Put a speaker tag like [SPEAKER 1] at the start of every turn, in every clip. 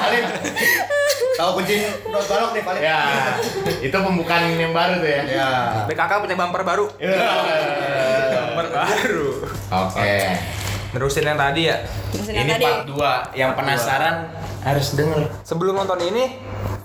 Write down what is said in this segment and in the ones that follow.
[SPEAKER 1] Paling tahu kunci dot balok nih paling.
[SPEAKER 2] Ya, itu pembukaan yang baru tuh ya.
[SPEAKER 1] Ya.
[SPEAKER 3] BKK punya bumper baru.
[SPEAKER 2] Eh,
[SPEAKER 3] Iya, Bumper baru.
[SPEAKER 2] Oke.
[SPEAKER 3] Nerusin yang tadi ya.
[SPEAKER 4] Mesin yang
[SPEAKER 2] Ini
[SPEAKER 4] tadi.
[SPEAKER 2] part 2 yang penasaran harus denger.
[SPEAKER 3] Sebelum nonton ini,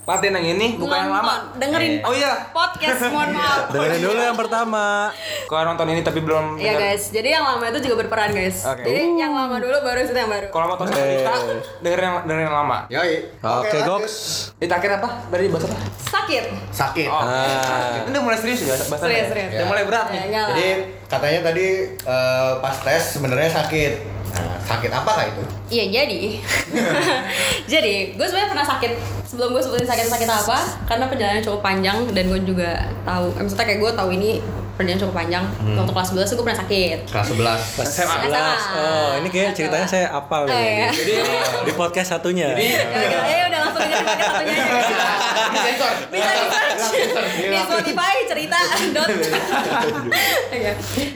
[SPEAKER 3] latihan yang ini bukan yang lama.
[SPEAKER 4] Nonton. Dengerin
[SPEAKER 3] Oh iya.
[SPEAKER 4] podcast mohon maaf.
[SPEAKER 5] Dengerin dulu yang pertama.
[SPEAKER 3] Kalau nonton ini tapi belum
[SPEAKER 4] Iya guys, jadi yang lama itu juga berperan guys.
[SPEAKER 3] Oke.
[SPEAKER 4] Jadi yang lama dulu baru itu yang baru.
[SPEAKER 3] Kalau mau tahu
[SPEAKER 5] Eh.
[SPEAKER 3] kita dengerin yang, dengerin yang lama.
[SPEAKER 1] Yoi.
[SPEAKER 5] Oke,
[SPEAKER 1] lanjut.
[SPEAKER 5] Goks.
[SPEAKER 3] Itu akhir apa? Dari bahasa apa?
[SPEAKER 4] Sakit.
[SPEAKER 1] Sakit.
[SPEAKER 3] Oh.
[SPEAKER 5] Ah.
[SPEAKER 3] Ini udah mulai serius ya bahasa.
[SPEAKER 4] Serius, serius.
[SPEAKER 3] Udah mulai berat nih.
[SPEAKER 4] Ya, nyala.
[SPEAKER 1] Jadi katanya tadi eh, pas tes sebenarnya sakit. Nah, sakit apa kah itu?
[SPEAKER 4] Iya jadi. jadi gue sebenarnya pernah sakit sebelum gue sebutin sakit-sakit apa karena perjalanan cukup panjang dan gue juga tahu. eh, Maksudnya kayak gue tahu ini perjalanan cukup panjang. Waktu kelas 11 tuh gue pernah sakit.
[SPEAKER 1] Kelas 11.
[SPEAKER 3] SMA.
[SPEAKER 4] Kelas
[SPEAKER 5] Oh, ini kayak
[SPEAKER 4] Kelas
[SPEAKER 5] ceritanya
[SPEAKER 4] 11.
[SPEAKER 5] saya apal
[SPEAKER 4] Oh,
[SPEAKER 5] nih.
[SPEAKER 4] iya.
[SPEAKER 5] Jadi di podcast satunya.
[SPEAKER 4] Ya udah, eh, udah langsung aja pakai satunya aja.
[SPEAKER 1] Sensor.
[SPEAKER 4] Bisa di di Spotify cerita dot.
[SPEAKER 5] Iya,
[SPEAKER 4] Oke.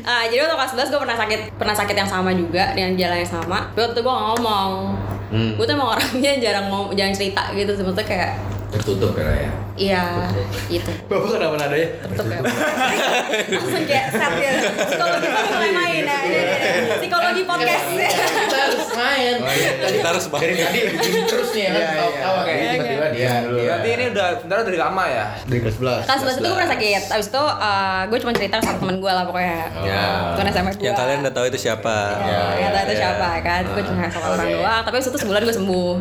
[SPEAKER 4] Ah, jadi waktu kelas 11 gue pernah sakit pernah sakit yang sama juga dengan jalan yang sama. Tapi waktu itu gue nggak ngomong.
[SPEAKER 5] Hmm.
[SPEAKER 4] Gue tuh emang orangnya jarang mau jarang cerita gitu sebetulnya kayak
[SPEAKER 2] Tertutup ya.
[SPEAKER 4] Iya, gitu.
[SPEAKER 2] Bapak
[SPEAKER 1] Oh,
[SPEAKER 2] kenapa
[SPEAKER 1] iya,
[SPEAKER 2] nadanya?
[SPEAKER 4] Tutup ya. Langsung kayak set ya. Psikologi kita mulai main ya. Ini, ini, ini. Psikologi podcast.
[SPEAKER 5] Iya,
[SPEAKER 2] Kita harus main.
[SPEAKER 5] Kita harus
[SPEAKER 2] Dari
[SPEAKER 5] bahas.
[SPEAKER 2] tadi bikin Kan terus nih ya kan
[SPEAKER 1] Iya,
[SPEAKER 2] tahu
[SPEAKER 1] iya.
[SPEAKER 2] tahu
[SPEAKER 3] Oke.
[SPEAKER 2] kayak tiba-tiba dia dulu.
[SPEAKER 3] Berarti ini udah sebenarnya dari lama ya.
[SPEAKER 1] Dari kelas 11.
[SPEAKER 4] Kelas 11 itu gue pernah sakit. Abis itu gue cuma cerita ke satu temen gue lah pokoknya.
[SPEAKER 2] Ya.
[SPEAKER 4] Temen SMA gue.
[SPEAKER 5] Oh. Yang kalian udah tahu itu siapa?
[SPEAKER 3] Iya,
[SPEAKER 4] Ya,
[SPEAKER 2] Ya,
[SPEAKER 4] ya, itu
[SPEAKER 2] ya.
[SPEAKER 4] siapa ya kan? Gue cuma sama orang
[SPEAKER 2] Oke.
[SPEAKER 4] doang. Tapi abis itu sebulan gue sembuh.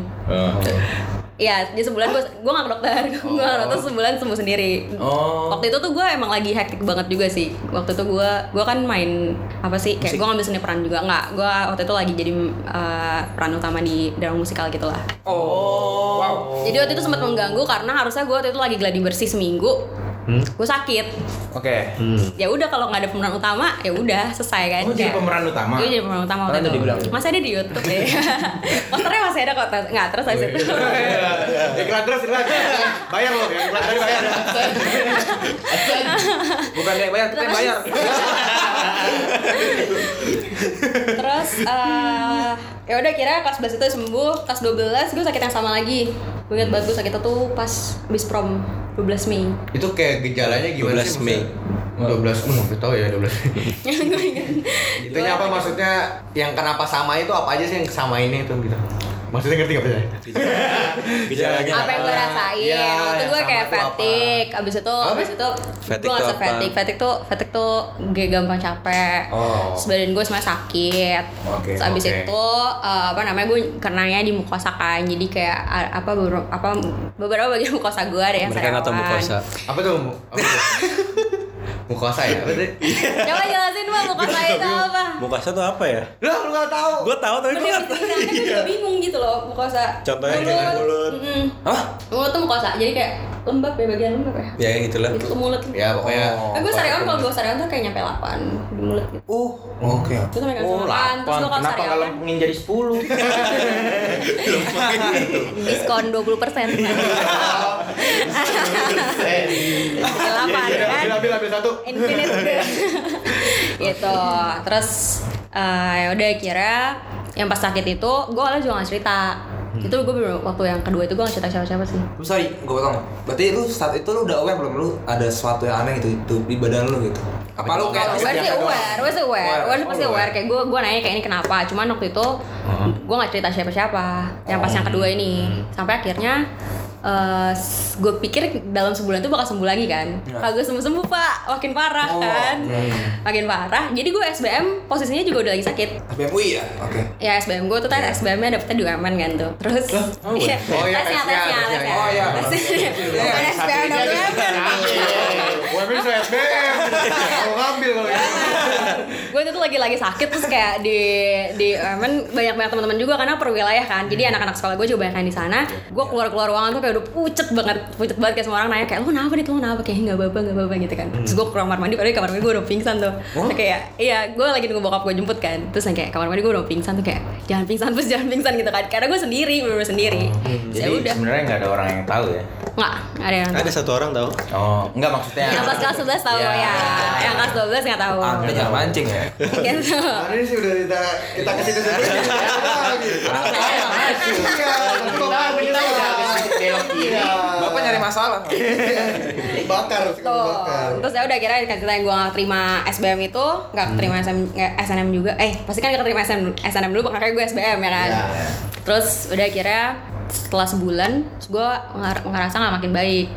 [SPEAKER 4] Iya, di sebulan gue gue nggak ke dokter, gue nggak ke dokter sebulan sembuh sendiri.
[SPEAKER 2] Oh.
[SPEAKER 4] Waktu itu tuh gue emang lagi hektik banget juga sih. Waktu itu gue gue kan main apa sih? Kayak gue ngambil seni peran juga nggak? Gue waktu itu lagi jadi eh, peran utama di drama musikal gitulah.
[SPEAKER 3] Oh. Wow.
[SPEAKER 4] Jadi waktu itu sempat mengganggu karena harusnya gue waktu itu lagi gladi bersih seminggu.
[SPEAKER 3] Hmm?
[SPEAKER 4] Gue sakit.
[SPEAKER 3] Oke.
[SPEAKER 4] Ya udah kalau nggak ada pemeran utama ya udah selesai kan.
[SPEAKER 3] Kamu Hmm. Oh, jadi
[SPEAKER 4] Kayak-
[SPEAKER 3] pemeran utama.
[SPEAKER 4] Gue jadi pemeran utama
[SPEAKER 3] Karena
[SPEAKER 4] waktu
[SPEAKER 3] udah
[SPEAKER 4] itu.
[SPEAKER 3] dibilang.
[SPEAKER 4] Masih ada di YouTube deh. Posternya masih ada kok. Nggak terus habis itu.
[SPEAKER 1] Iklan terus iklan. Bayar loh, yang iklan tadi bayar.
[SPEAKER 3] Bukan dia yang bayar, kita yang bayar.
[SPEAKER 4] terus eh, ya udah kira kelas 11 itu sembuh. Kelas 12 gue sakit yang sama lagi. Gue ingat banget gue sakit itu pas bis prom 12 Mei.
[SPEAKER 1] Itu kayak gejalanya gimana
[SPEAKER 5] 12
[SPEAKER 1] sih?
[SPEAKER 5] Mei.
[SPEAKER 1] maksudnya? 12 Mei. tahu ya 12 Mei.
[SPEAKER 4] gue ingat.
[SPEAKER 1] Itunya apa maksudnya yang kenapa sama itu apa aja sih yang sama ini itu gitu. Maksudnya ngerti gak sih?
[SPEAKER 5] Gejalanya
[SPEAKER 4] apa yang gue
[SPEAKER 1] Ah,
[SPEAKER 4] rasain
[SPEAKER 1] iya,
[SPEAKER 4] waktu
[SPEAKER 1] yang
[SPEAKER 4] gue
[SPEAKER 1] sama
[SPEAKER 4] kayak
[SPEAKER 1] tuh apa?
[SPEAKER 4] fatigue abis itu
[SPEAKER 1] Apa?
[SPEAKER 4] abis itu
[SPEAKER 5] Fatigue
[SPEAKER 4] gue
[SPEAKER 5] tuh
[SPEAKER 4] ngerasa
[SPEAKER 5] apa?
[SPEAKER 4] fatigue fatigue tuh fatigue tuh gak gampang capek
[SPEAKER 3] Oh.
[SPEAKER 4] Terus badan gue sebenarnya sakit
[SPEAKER 2] Oke,
[SPEAKER 4] terus abis
[SPEAKER 2] oke.
[SPEAKER 4] itu eh, apa namanya gue kenanya di mukosa kan jadi kayak a- apa beberapa, apa beberapa bagian mukosa gue ada yang
[SPEAKER 5] Mereka atau
[SPEAKER 4] sariawan.
[SPEAKER 5] mukosa?
[SPEAKER 1] Apa tuh? Apa tuh? Mukosa ya? Apa sih?
[SPEAKER 4] coba jelasin bang mukosa itu apa
[SPEAKER 5] Mukosa tuh apa ya?
[SPEAKER 1] Lah lu gak tahu.
[SPEAKER 5] Gue tahu tapi
[SPEAKER 4] Demi
[SPEAKER 5] gue nggak tahu.
[SPEAKER 4] kesehatan, gue Kan juga bingung gitu loh mukosa
[SPEAKER 5] Contohnya kayak mulut.
[SPEAKER 4] mm-mm.
[SPEAKER 3] Hah?
[SPEAKER 4] mulut tuh mukosa jadi kayak lembab ya bagian lembab ya
[SPEAKER 5] Ya
[SPEAKER 6] Iya.
[SPEAKER 5] gitulah.
[SPEAKER 4] gitu mulut
[SPEAKER 1] Ya pokoknya
[SPEAKER 3] Oh.
[SPEAKER 4] Eh, gue sariawan kalau gue sariawan tuh kayak nyampe 8 di mulut gitu.
[SPEAKER 3] Uh,
[SPEAKER 6] Oh,
[SPEAKER 3] oke.
[SPEAKER 4] Terus sampai
[SPEAKER 3] Oh,
[SPEAKER 4] jam 8, kan, terus
[SPEAKER 3] lapan.
[SPEAKER 4] lu ya? kalau
[SPEAKER 3] Kenapa
[SPEAKER 4] sariawan-
[SPEAKER 3] kalau pengen jadi 10?
[SPEAKER 4] Diskon 20 persen.
[SPEAKER 3] Iya.
[SPEAKER 4] Sampai
[SPEAKER 3] Iya,
[SPEAKER 4] 8 ya kan?
[SPEAKER 1] Iya, ambil ambil ambil satu.
[SPEAKER 4] Infinite. gitu. Terus eh ya udah kira yang pas sakit itu gue awalnya juga gak cerita.
[SPEAKER 3] Hmm.
[SPEAKER 4] Itu gue bener waktu yang kedua itu gue gak cerita siapa-siapa sih.
[SPEAKER 6] Lu sorry, gue potong. Berarti lu saat itu lu udah aware belum lu ada sesuatu yang aneh gitu itu di badan lu gitu. Apa lu kayak
[SPEAKER 4] Gue sih aware, gue sih aware,
[SPEAKER 6] Aware.
[SPEAKER 4] gue pasti
[SPEAKER 6] Oh,
[SPEAKER 4] aware kayak gue gue nanya kayak ini kenapa, cuman waktu itu
[SPEAKER 1] Uh-huh.
[SPEAKER 4] gue nggak cerita siapa-siapa, yang pas yang kedua ini sampai akhirnya gue pikir dalam sebulan tuh bakal sembuh lagi kan,
[SPEAKER 1] Iya.
[SPEAKER 4] kalau gue sembuh sembuh pak, makin parah
[SPEAKER 1] Oh,
[SPEAKER 4] kan, makin parah, jadi gue SBM posisinya juga udah lagi sakit,
[SPEAKER 6] BMUI ya? Oke.
[SPEAKER 4] ya SBM gue tuh tes SBM-nya dapetnya di UMN kan tuh, terus iya,
[SPEAKER 1] Iya. Oh, iya,
[SPEAKER 4] tesnya
[SPEAKER 1] tesnya,
[SPEAKER 4] tesnya
[SPEAKER 1] tesnya.
[SPEAKER 4] tesnya,
[SPEAKER 1] Oh, iya.
[SPEAKER 4] tesnya, bukan SBM dan UMN
[SPEAKER 1] Gue ambil saya SBM. Mau ngambil kalau gitu.
[SPEAKER 4] gue itu tuh lagi-lagi sakit terus kayak di di UMN banyak banyak teman-teman juga karena perwilayah kan
[SPEAKER 5] Hmm.
[SPEAKER 4] jadi anak-anak sekolah gue juga banyak yang di sana
[SPEAKER 5] Iya.
[SPEAKER 4] gue keluar-keluar ruangan tuh kayak udah pucet banget pucet banget kayak semua orang nanya kayak lu kenapa nih lu kenapa kayak nggak apa-apa nggak apa-apa gitu kan terus
[SPEAKER 5] Hmm.
[SPEAKER 4] gue ke kamar mandi padahal di kamar mandi gue udah pingsan tuh Terus kayak iya gue lagi nunggu bokap gue jemput kan terus yang kayak kamar mandi gue udah pingsan tuh kayak jangan pingsan terus jangan pingsan gitu kan karena gue sendiri bener-bener sendiri ya
[SPEAKER 2] Jadi
[SPEAKER 4] udah
[SPEAKER 2] sebenarnya nggak ada orang yang tahu ya.
[SPEAKER 4] nggak ada yang
[SPEAKER 5] Hmm. Ada satu Iya. orang tahu.
[SPEAKER 2] Oh, nggak maksudnya. Ah,
[SPEAKER 4] yang pas kelas 11 tahu
[SPEAKER 2] Ya.
[SPEAKER 4] ya yang kelas 12 nggak tahu
[SPEAKER 3] Anda jangan mancing ya.
[SPEAKER 4] gitu
[SPEAKER 1] Hari ini sih udah kita kita ke situ situ.
[SPEAKER 4] Oke.
[SPEAKER 1] Iya, tapi bapak menyesal.
[SPEAKER 2] belok kiri.
[SPEAKER 6] Bapak nyari masalah.
[SPEAKER 1] Bakar,
[SPEAKER 4] Tuh.
[SPEAKER 1] bakar.
[SPEAKER 4] Terus ya udah akhirnya cerita yang gue gak terima SBM itu Gak terima SM, nggak SNM juga Eh pasti kan gak terima SNM, dulu- SNM dulu makanya gue SBM ya kan
[SPEAKER 1] Iya.
[SPEAKER 4] Terus udah akhirnya setelah sebulan gue ngerasa gak makin baik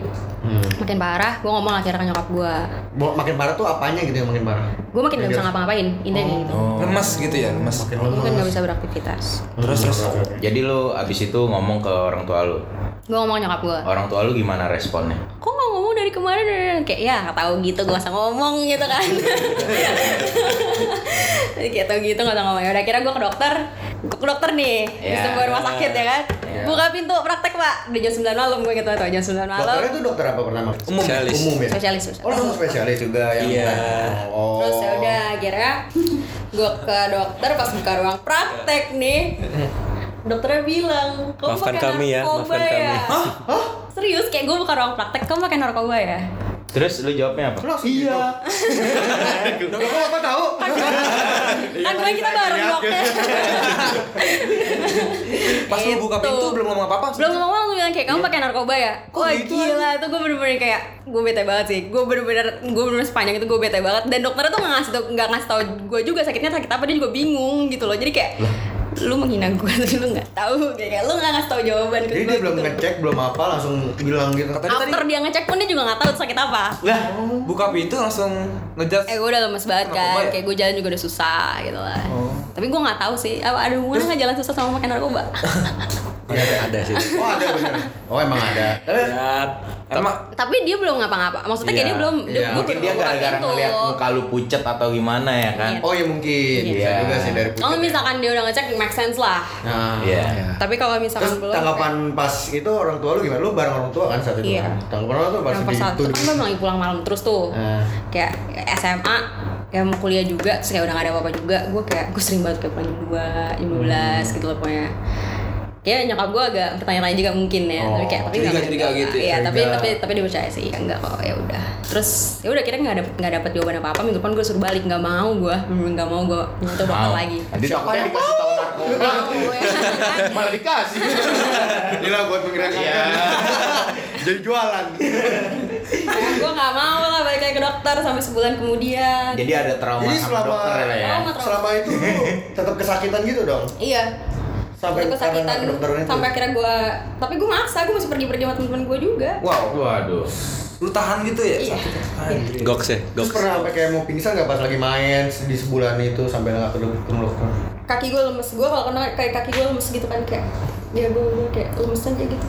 [SPEAKER 1] Hmm.
[SPEAKER 4] Makin parah gue ngomong akhirnya ke nyokap gue
[SPEAKER 1] Bo- Makin parah tuh apanya gitu yang makin parah?
[SPEAKER 4] Gue makin gak bisa ngapa-ngapain intinya kayak gitu
[SPEAKER 2] Oh.
[SPEAKER 6] Lemes gitu ya, lemes.
[SPEAKER 1] Makin
[SPEAKER 4] Gue makin
[SPEAKER 1] lemes.
[SPEAKER 4] gak bisa beraktivitas
[SPEAKER 6] Terus terus.
[SPEAKER 2] Jadi lu abis itu ngomong ke orang tua lu.
[SPEAKER 4] Gue ngomong ke nyokap gue
[SPEAKER 2] Orang tua lu gimana responnya?
[SPEAKER 4] kok nggak ngomong dari kemarin kayak ya nggak tahu gitu gue usah ngomong gitu kan kayak tahu gitu nggak usah ngomong ya udah kira gue ke dokter gue ke dokter nih di
[SPEAKER 5] Iya.
[SPEAKER 2] Ya.
[SPEAKER 4] sebuah rumah sakit ya kan
[SPEAKER 2] Ya.
[SPEAKER 4] buka pintu praktek pak udah jam 9 malam gue gitu tuh jam 9 malam
[SPEAKER 1] Dokternya tuh dokter apa pertama?
[SPEAKER 5] Umum. Spesialis.
[SPEAKER 1] Umum ya?
[SPEAKER 4] Spesialis, spesialis.
[SPEAKER 1] Oh langsung spesialis juga yang
[SPEAKER 5] Iya.
[SPEAKER 1] Oh.
[SPEAKER 4] terus ya udah akhirnya gue ke dokter pas buka ruang praktek nih dokternya bilang kamu
[SPEAKER 5] Maafkan
[SPEAKER 4] pakai
[SPEAKER 5] kami ya,
[SPEAKER 4] narkoba
[SPEAKER 5] maafkan
[SPEAKER 4] ya
[SPEAKER 5] kami.
[SPEAKER 4] Hah? serius kayak gue buka ruang praktek kamu pakai narkoba ya
[SPEAKER 2] Terus lu jawabnya
[SPEAKER 1] Lu
[SPEAKER 2] apa?
[SPEAKER 1] langsung iya. Dokter kok apa tahu?
[SPEAKER 4] kan gue kita bareng dokter
[SPEAKER 6] Pas lu buka
[SPEAKER 4] Gitu.
[SPEAKER 6] pintu belum ngomong apa-apa.
[SPEAKER 4] belum ngomong langsung bilang kayak kamu pakai narkoba ya
[SPEAKER 6] Kok
[SPEAKER 4] wah
[SPEAKER 6] gitu,
[SPEAKER 4] gila tuh gue bener-bener kayak gue bete banget sih gue bener-bener gue bener-bener sepanjang itu gue bete banget dan dokternya tuh nggak ngasih tau nggak ngasih tau gue juga sakitnya sakit apa dia juga bingung gitu loh jadi kayak lu menghina gue tapi lu nggak tahu kayak kayak lu nggak ngasih tau jawaban ke
[SPEAKER 1] Jadi
[SPEAKER 4] gue
[SPEAKER 1] dia belum
[SPEAKER 4] gitu.
[SPEAKER 1] ngecek, belum apa langsung bilang gitu.
[SPEAKER 6] Katanya tadi
[SPEAKER 4] after dia ngecek pun dia juga nggak tahu itu sakit apa
[SPEAKER 6] lah buka pintu langsung ngejat.
[SPEAKER 4] eh gue udah lemes banget
[SPEAKER 6] Narkoba
[SPEAKER 4] kan
[SPEAKER 6] ya?
[SPEAKER 4] kayak gue jalan juga udah susah gitu lah tapi gue nggak tahu sih apa ada hubungannya nggak jalan susah sama makan narkoba
[SPEAKER 6] iya,
[SPEAKER 5] Ada sih.
[SPEAKER 1] Oh ada bener. Oh emang ada. Tapi
[SPEAKER 6] Emang
[SPEAKER 4] tapi dia belum ngapa-ngapa maksudnya kayak
[SPEAKER 5] Iya,
[SPEAKER 4] dia belum
[SPEAKER 1] iya.
[SPEAKER 4] gue
[SPEAKER 2] Mungkin dia
[SPEAKER 4] buka
[SPEAKER 2] gara-gara
[SPEAKER 4] pintu.
[SPEAKER 2] ngeliat muka lu pucet atau gimana ya kan?
[SPEAKER 4] Iya.
[SPEAKER 1] Oh ya mungkin
[SPEAKER 4] Iya.
[SPEAKER 1] bisa juga sih dari pucet
[SPEAKER 4] Kalau
[SPEAKER 1] ya.
[SPEAKER 4] misalkan dia udah ngecek make sense lah.
[SPEAKER 1] Nah,
[SPEAKER 2] Iya.
[SPEAKER 4] Tapi kalau misalkan
[SPEAKER 1] Terus
[SPEAKER 4] belum
[SPEAKER 1] tanggapan pas itu orang tua lu gimana? Lu bareng orang tua kan saat itu?
[SPEAKER 4] Iya.
[SPEAKER 1] kan? Tanggapan orang tua
[SPEAKER 4] kayak
[SPEAKER 1] pas
[SPEAKER 4] yang
[SPEAKER 1] di
[SPEAKER 4] pas
[SPEAKER 1] itu.
[SPEAKER 4] satu kan memang lagi pulang malam terus tuh.
[SPEAKER 1] Nah.
[SPEAKER 4] Kayak SMA ya mau kuliah juga terus kayak udah gak ada apa-apa juga gue kayak gue sering banget kayak pulang jam 2, jam 12 gitu loh pokoknya kayak nyokap gue agak bertanya-tanya juga mungkin ya tapi kayak tapi
[SPEAKER 6] curiga-
[SPEAKER 4] nggak-
[SPEAKER 6] curiga gitu ya,
[SPEAKER 4] iya tapi
[SPEAKER 6] curiga.
[SPEAKER 4] tapi tapi dia percaya sih enggak kok ya udah terus ya udah kira nggak dapet nggak dapet jawaban apa apa minggu depan gue suruh balik nggak mau gue nggak mau gue nyentuh bakal
[SPEAKER 2] Mau.
[SPEAKER 4] lagi
[SPEAKER 2] Nanti
[SPEAKER 1] Siapa yang
[SPEAKER 2] takutnya
[SPEAKER 1] dikasih tahu narkoba? Eh,
[SPEAKER 4] Gue-
[SPEAKER 1] Malah dikasih. Gila buat menggerakkan. Jadi jualan.
[SPEAKER 4] gue gak mau lah balik lagi ke dokter sampai sebulan kemudian
[SPEAKER 2] Jadi ada trauma
[SPEAKER 1] Jadi
[SPEAKER 2] sama
[SPEAKER 1] selama
[SPEAKER 2] dokter lah ya.
[SPEAKER 4] Trauma.
[SPEAKER 1] selama itu lu tetap kesakitan gitu dong.
[SPEAKER 4] iya
[SPEAKER 1] Sampai
[SPEAKER 4] gue kesakitan
[SPEAKER 1] karena kedokteran itu.
[SPEAKER 4] sampai akhirnya gue tapi gue maksa gue masih pergi pergi sama teman-teman gue juga
[SPEAKER 6] wow,
[SPEAKER 2] Waduh.
[SPEAKER 6] lu tahan gitu ya
[SPEAKER 4] Iya.
[SPEAKER 6] sakitnya. Anjir.
[SPEAKER 5] Goks ya,
[SPEAKER 1] Terus
[SPEAKER 5] goks.
[SPEAKER 1] pernah sampai kayak mau pingsan nggak pas lagi main di sebulan itu sampai nggak ke dok- ke dokter?
[SPEAKER 4] kaki gue lemes gue kalau kena kayak kaki gue lemes gitu kan kayak ya gue kayak lemes aja gitu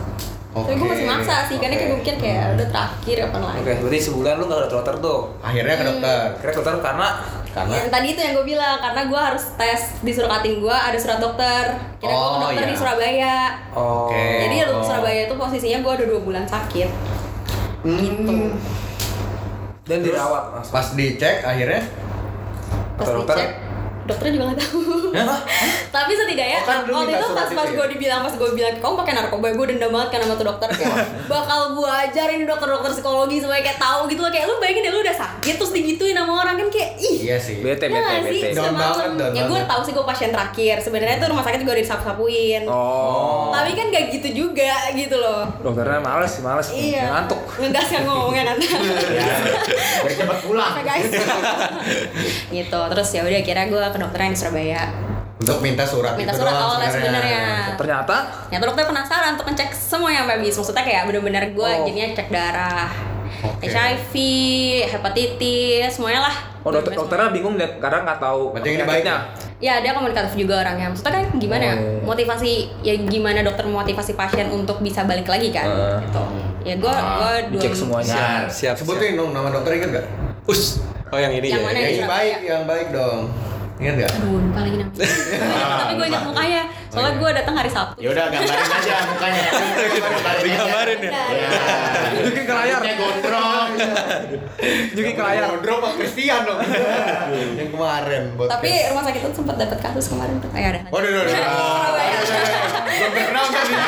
[SPEAKER 4] tapi gue
[SPEAKER 1] Oke.
[SPEAKER 4] masih maksa sih karena kayak gue
[SPEAKER 1] Oke.
[SPEAKER 4] mikir kayak "Ya udah terakhir apa lagi
[SPEAKER 6] Oke, berarti sebulan lu gak ada dokter tuh.
[SPEAKER 1] Akhirnya ke dokter.
[SPEAKER 6] Kira dokter karena
[SPEAKER 1] Karena
[SPEAKER 4] yang tadi itu yang gue bilang karena gue harus tes di surat kating gue ada surat dokter kira gue ke
[SPEAKER 1] Oh,
[SPEAKER 4] dokter
[SPEAKER 1] iya.
[SPEAKER 4] di Surabaya
[SPEAKER 6] oh
[SPEAKER 1] Oke.
[SPEAKER 4] jadi di Surabaya itu posisinya gue ada dua bulan sakit gitu
[SPEAKER 1] Hmm.
[SPEAKER 6] dan dirawat mas.
[SPEAKER 1] pas dicek akhirnya
[SPEAKER 4] pas
[SPEAKER 6] Kata dokter?
[SPEAKER 4] dicek dokternya juga nggak tahu tapi setidaknya
[SPEAKER 1] Oh, kan lu
[SPEAKER 4] waktu
[SPEAKER 1] minta
[SPEAKER 4] itu
[SPEAKER 1] surat
[SPEAKER 4] pas
[SPEAKER 1] itu
[SPEAKER 4] pas
[SPEAKER 1] ya?
[SPEAKER 4] gue dibilang pas gue bilang kamu pakai narkoba gue dendam banget karena sama tuh dokter
[SPEAKER 1] Iya.
[SPEAKER 4] kayak bakal gue ajarin dokter-dokter psikologi supaya kayak tahu gitu loh kayak lu bayangin deh lu udah sakit terus digituin sama orang kan kayak ih
[SPEAKER 1] iya sih.
[SPEAKER 3] Bete,
[SPEAKER 4] Ya
[SPEAKER 3] bete,
[SPEAKER 4] nggak sih,
[SPEAKER 3] bete.
[SPEAKER 1] Down
[SPEAKER 4] semalam
[SPEAKER 1] banget, down
[SPEAKER 4] ya gue
[SPEAKER 1] banget.
[SPEAKER 4] tahu sih gue pasien terakhir. Sebenarnya itu rumah sakit juga udah disapu-sapuin.
[SPEAKER 3] Oh.
[SPEAKER 4] Tapi kan gak gitu juga gitu loh.
[SPEAKER 6] Dokternya males sih, males.
[SPEAKER 4] Iya.
[SPEAKER 6] Ngantuk.
[SPEAKER 4] Ngegas kan gue ngomongnya nanti.
[SPEAKER 3] Iya.
[SPEAKER 1] Biar cepet pulang.
[SPEAKER 4] Apa, Iya, guys. gitu. Terus ya udah akhirnya gue ke dokter yang di Surabaya.
[SPEAKER 1] Untuk minta surat
[SPEAKER 4] Minta
[SPEAKER 1] itu Gitu
[SPEAKER 4] surat
[SPEAKER 1] doang
[SPEAKER 4] awalnya sebenarnya.
[SPEAKER 6] Ternyata
[SPEAKER 4] Ya dokter penasaran untuk ngecek semuanya sampai habis. Maksudnya kayak bener-bener gue
[SPEAKER 6] Oh.
[SPEAKER 4] jadinya cek darah.
[SPEAKER 1] Oke.
[SPEAKER 4] HIV, hepatitis, semuanya lah.
[SPEAKER 3] Oh dokter,
[SPEAKER 4] Bener-bener
[SPEAKER 3] dokternya bingung deh, kadang nggak tahu
[SPEAKER 1] Berarti yang dibaik
[SPEAKER 3] penyakitnya.
[SPEAKER 4] Ya dia komunikatif juga orangnya. Maksudnya kan gimana ya? Motivasi ya gimana dokter memotivasi pasien untuk bisa balik lagi kan?
[SPEAKER 6] Ah.
[SPEAKER 4] gitu. Ya gua gua dua
[SPEAKER 3] Dicek semuanya.
[SPEAKER 2] Nah,
[SPEAKER 5] Siap, siap.
[SPEAKER 1] Sebutin dong nama dokter inget gak?
[SPEAKER 5] Us. Oh yang ini
[SPEAKER 4] Yang
[SPEAKER 5] ya.
[SPEAKER 4] mana?
[SPEAKER 1] yang
[SPEAKER 4] iya.
[SPEAKER 1] baik, yang baik dong. Ingat gak?
[SPEAKER 4] Aduh, lupa lagi namanya. Tapi gue ingat mukanya. Soalnya gua datang hari Sabtu.
[SPEAKER 2] Ya udah gambarin aja mukanya. Gambarin aja.
[SPEAKER 5] Kemarin ya.
[SPEAKER 4] Nah,
[SPEAKER 2] Ya.
[SPEAKER 3] Tunjukin ke layar.
[SPEAKER 2] Rambutnya gondrong.
[SPEAKER 3] Tunjukin ke layar.
[SPEAKER 1] Gondrong sama Christian dong. yang kemarin. buat
[SPEAKER 4] Tapi
[SPEAKER 1] tes.
[SPEAKER 4] rumah sakit itu sempat dapat kasus kemarin. Eh ada.
[SPEAKER 1] Waduh, waduh, waduh.
[SPEAKER 4] Iya,
[SPEAKER 1] Belum terkenal kan ya?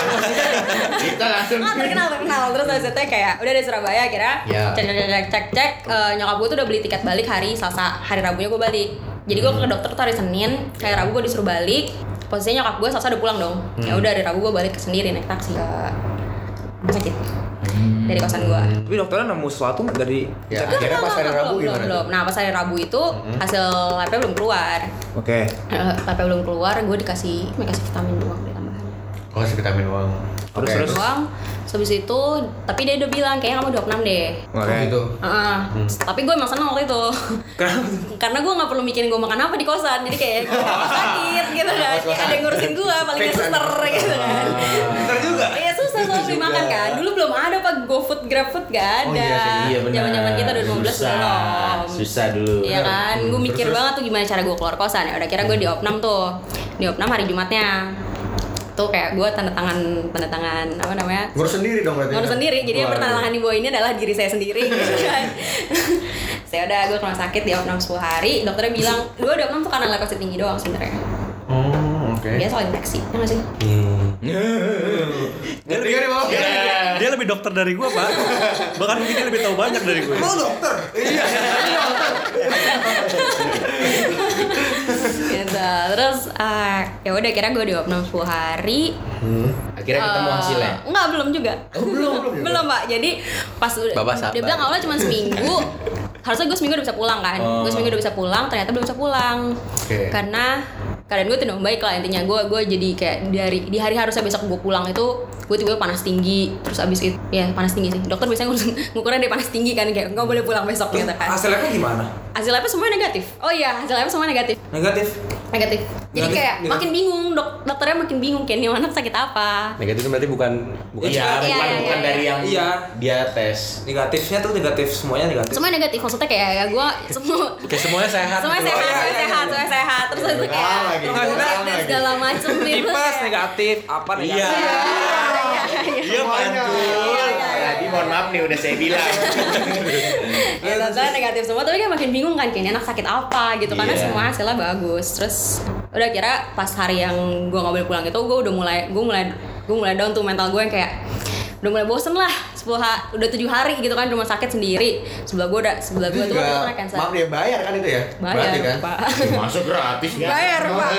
[SPEAKER 1] Kita langsung.
[SPEAKER 4] Oh, terkenal terkenal terus habis itu kayak udah dari Surabaya kira
[SPEAKER 1] Ya.
[SPEAKER 4] cek cek cek cek cek, cek Eh, nyokap gue tuh udah beli tiket
[SPEAKER 1] Hmm.
[SPEAKER 4] balik hari Selasa hari Rabunya gue balik jadi gue ke dokter tuh hari Senin hari Rabu gue disuruh balik posisinya nyokap gue selasa udah pulang dong ya
[SPEAKER 1] Hmm.
[SPEAKER 4] udah dari rabu gue balik sendiri naik taksi ke rumah sakit dari kosan gue
[SPEAKER 6] Tapi dokternya nemu sesuatu nggak dari
[SPEAKER 1] Ya, Hmm. akhirnya pas hari Rabu
[SPEAKER 4] belum,
[SPEAKER 1] gimana?
[SPEAKER 4] belum.
[SPEAKER 1] tuh? Hmm.
[SPEAKER 4] Nah pas hari Rabu itu hasil labnya belum keluar.
[SPEAKER 2] Oke.
[SPEAKER 4] Eh, Labnya belum keluar, gue dikasih, gue dikasih vitamin doang deh tambahan.
[SPEAKER 1] Oh, si vitamin uang.
[SPEAKER 2] Terus,
[SPEAKER 1] Oke.
[SPEAKER 2] terus.
[SPEAKER 4] Doang. Sebis itu, tapi dia udah bilang kayaknya kamu 26 deh.
[SPEAKER 1] Oh,
[SPEAKER 2] Oke.
[SPEAKER 1] gitu.
[SPEAKER 4] Heeh.
[SPEAKER 2] Hmm.
[SPEAKER 4] Tapi gue emang seneng waktu itu Karena gue gak perlu mikirin gue makan apa di kosan Jadi kayak gue gak sakit gitu kan Kayak ada yang ngurusin gue, paling gak suster gitu
[SPEAKER 2] Ah.
[SPEAKER 4] kan
[SPEAKER 6] Dokter juga.
[SPEAKER 4] Iya susah soal beli makan kan Dulu belum ada pak GoFood, GrabFood
[SPEAKER 1] Oh,
[SPEAKER 4] gak ada
[SPEAKER 1] iya sih,
[SPEAKER 2] Iya benar.
[SPEAKER 4] Zaman-zaman kita 2012
[SPEAKER 2] Susah.
[SPEAKER 4] belum
[SPEAKER 2] Susah dulu. Hmm,
[SPEAKER 4] Iya kan, gue mikir banget tuh gimana cara gue keluar kosan ya. Udah kira gue di opnam tuh, di opnam hari Jumatnya. Tuh kayak gue tanda tangan, tanda tangan apa namanya?
[SPEAKER 1] Ngurus sendiri dong berarti.
[SPEAKER 4] Ngurus
[SPEAKER 1] kan?
[SPEAKER 4] sendiri, jadi yang
[SPEAKER 1] Waduh.
[SPEAKER 4] pertanda tangan di bawah ini adalah diri saya sendiri. gitu kan. saya udah gue ke rumah sakit di opnam 10 hari, dokternya bilang, lu di opnam tuh karena leukosit tinggi doang sebenarnya.
[SPEAKER 1] Oh, oke.
[SPEAKER 4] Dia soal infeksi, ya nggak sih?
[SPEAKER 1] Ngeri kan,
[SPEAKER 4] Iya,
[SPEAKER 1] Bang?
[SPEAKER 5] Iya. Dia lebih dokter dari gue pak. Bahkan mungkin dia lebih tahu banyak dari gue.
[SPEAKER 6] Lu dokter.
[SPEAKER 4] gitu. Terus eh, ya udah kira gue di opnam 10 hari,
[SPEAKER 2] Akhirnya ketemu
[SPEAKER 4] Eh,
[SPEAKER 2] hasilnya.
[SPEAKER 4] Enggak, belum juga. belum, belum. Pak. Jadi pas udah
[SPEAKER 5] Bapak sabar.
[SPEAKER 4] dia bilang awalnya cuma seminggu. harusnya gue seminggu udah bisa pulang kan. Gue seminggu udah bisa pulang, ternyata belum bisa pulang.
[SPEAKER 1] Oke.
[SPEAKER 4] Karena keadaan gue tidak baik lah intinya gue gue jadi kayak dari di hari harusnya besok gue pulang itu gue tiba-tiba panas tinggi terus abis itu ya panas tinggi sih dokter biasanya ngurus- ngukurnya dari panas tinggi kan kayak nggak boleh pulang besok gitu kan
[SPEAKER 6] Hasilnya kan gimana?
[SPEAKER 4] hasil labnya semua negatif oh iya hasil labnya semua negatif
[SPEAKER 6] Negatif.
[SPEAKER 4] negatif jadi
[SPEAKER 6] Negatif,
[SPEAKER 4] kayak
[SPEAKER 6] negatif.
[SPEAKER 4] makin bingung dok dokternya makin bingung kayak ini anak sakit apa
[SPEAKER 5] Negatif itu berarti bukan bukan.
[SPEAKER 2] Iya,
[SPEAKER 4] Iya,
[SPEAKER 2] bukan
[SPEAKER 4] iya,
[SPEAKER 2] bukan
[SPEAKER 4] iya.
[SPEAKER 2] dari yang
[SPEAKER 6] Iya.
[SPEAKER 2] dia tes.
[SPEAKER 6] Negatifnya tuh negatif semuanya negatif.
[SPEAKER 4] semua negatif maksudnya kayak ya gue semua
[SPEAKER 5] Oke semuanya sehat.
[SPEAKER 4] semua sehat
[SPEAKER 6] iya,
[SPEAKER 4] semua
[SPEAKER 6] iya,
[SPEAKER 4] sehat semua sehat terus itu kayak
[SPEAKER 1] Ulang lagi,
[SPEAKER 4] lembut
[SPEAKER 1] ulang
[SPEAKER 4] dan
[SPEAKER 1] lagi.
[SPEAKER 4] segala macem gitu
[SPEAKER 6] Tipes
[SPEAKER 4] kayak-
[SPEAKER 6] negatif, apa negatif?
[SPEAKER 5] Iya.
[SPEAKER 2] Iya,
[SPEAKER 4] Iya, iya, iya.
[SPEAKER 2] Tadi mohon maaf nih udah saya bilang.
[SPEAKER 4] ya tentunya negatif semua tapi kan makin bingung kan kayaknya anak sakit apa gitu karena
[SPEAKER 2] Iya.
[SPEAKER 4] semua hasilnya bagus terus udah kira pas hari yang gue nggak boleh pulang itu gue udah mulai gue mulai gue mulai down tuh mental gue yang kayak udah mulai bosen lah 10 ha- udah tujuh hari gitu kan di rumah sakit sendiri sebelah gue udah sebelah
[SPEAKER 1] Itu
[SPEAKER 4] gue tuh
[SPEAKER 1] juga
[SPEAKER 4] udah pernah cancer
[SPEAKER 1] maaf dia bayar kan itu ya?
[SPEAKER 4] Bayar,
[SPEAKER 1] Berarti kan?
[SPEAKER 4] Pak.
[SPEAKER 2] Masuk gratis ya.
[SPEAKER 4] Bayar, Pak.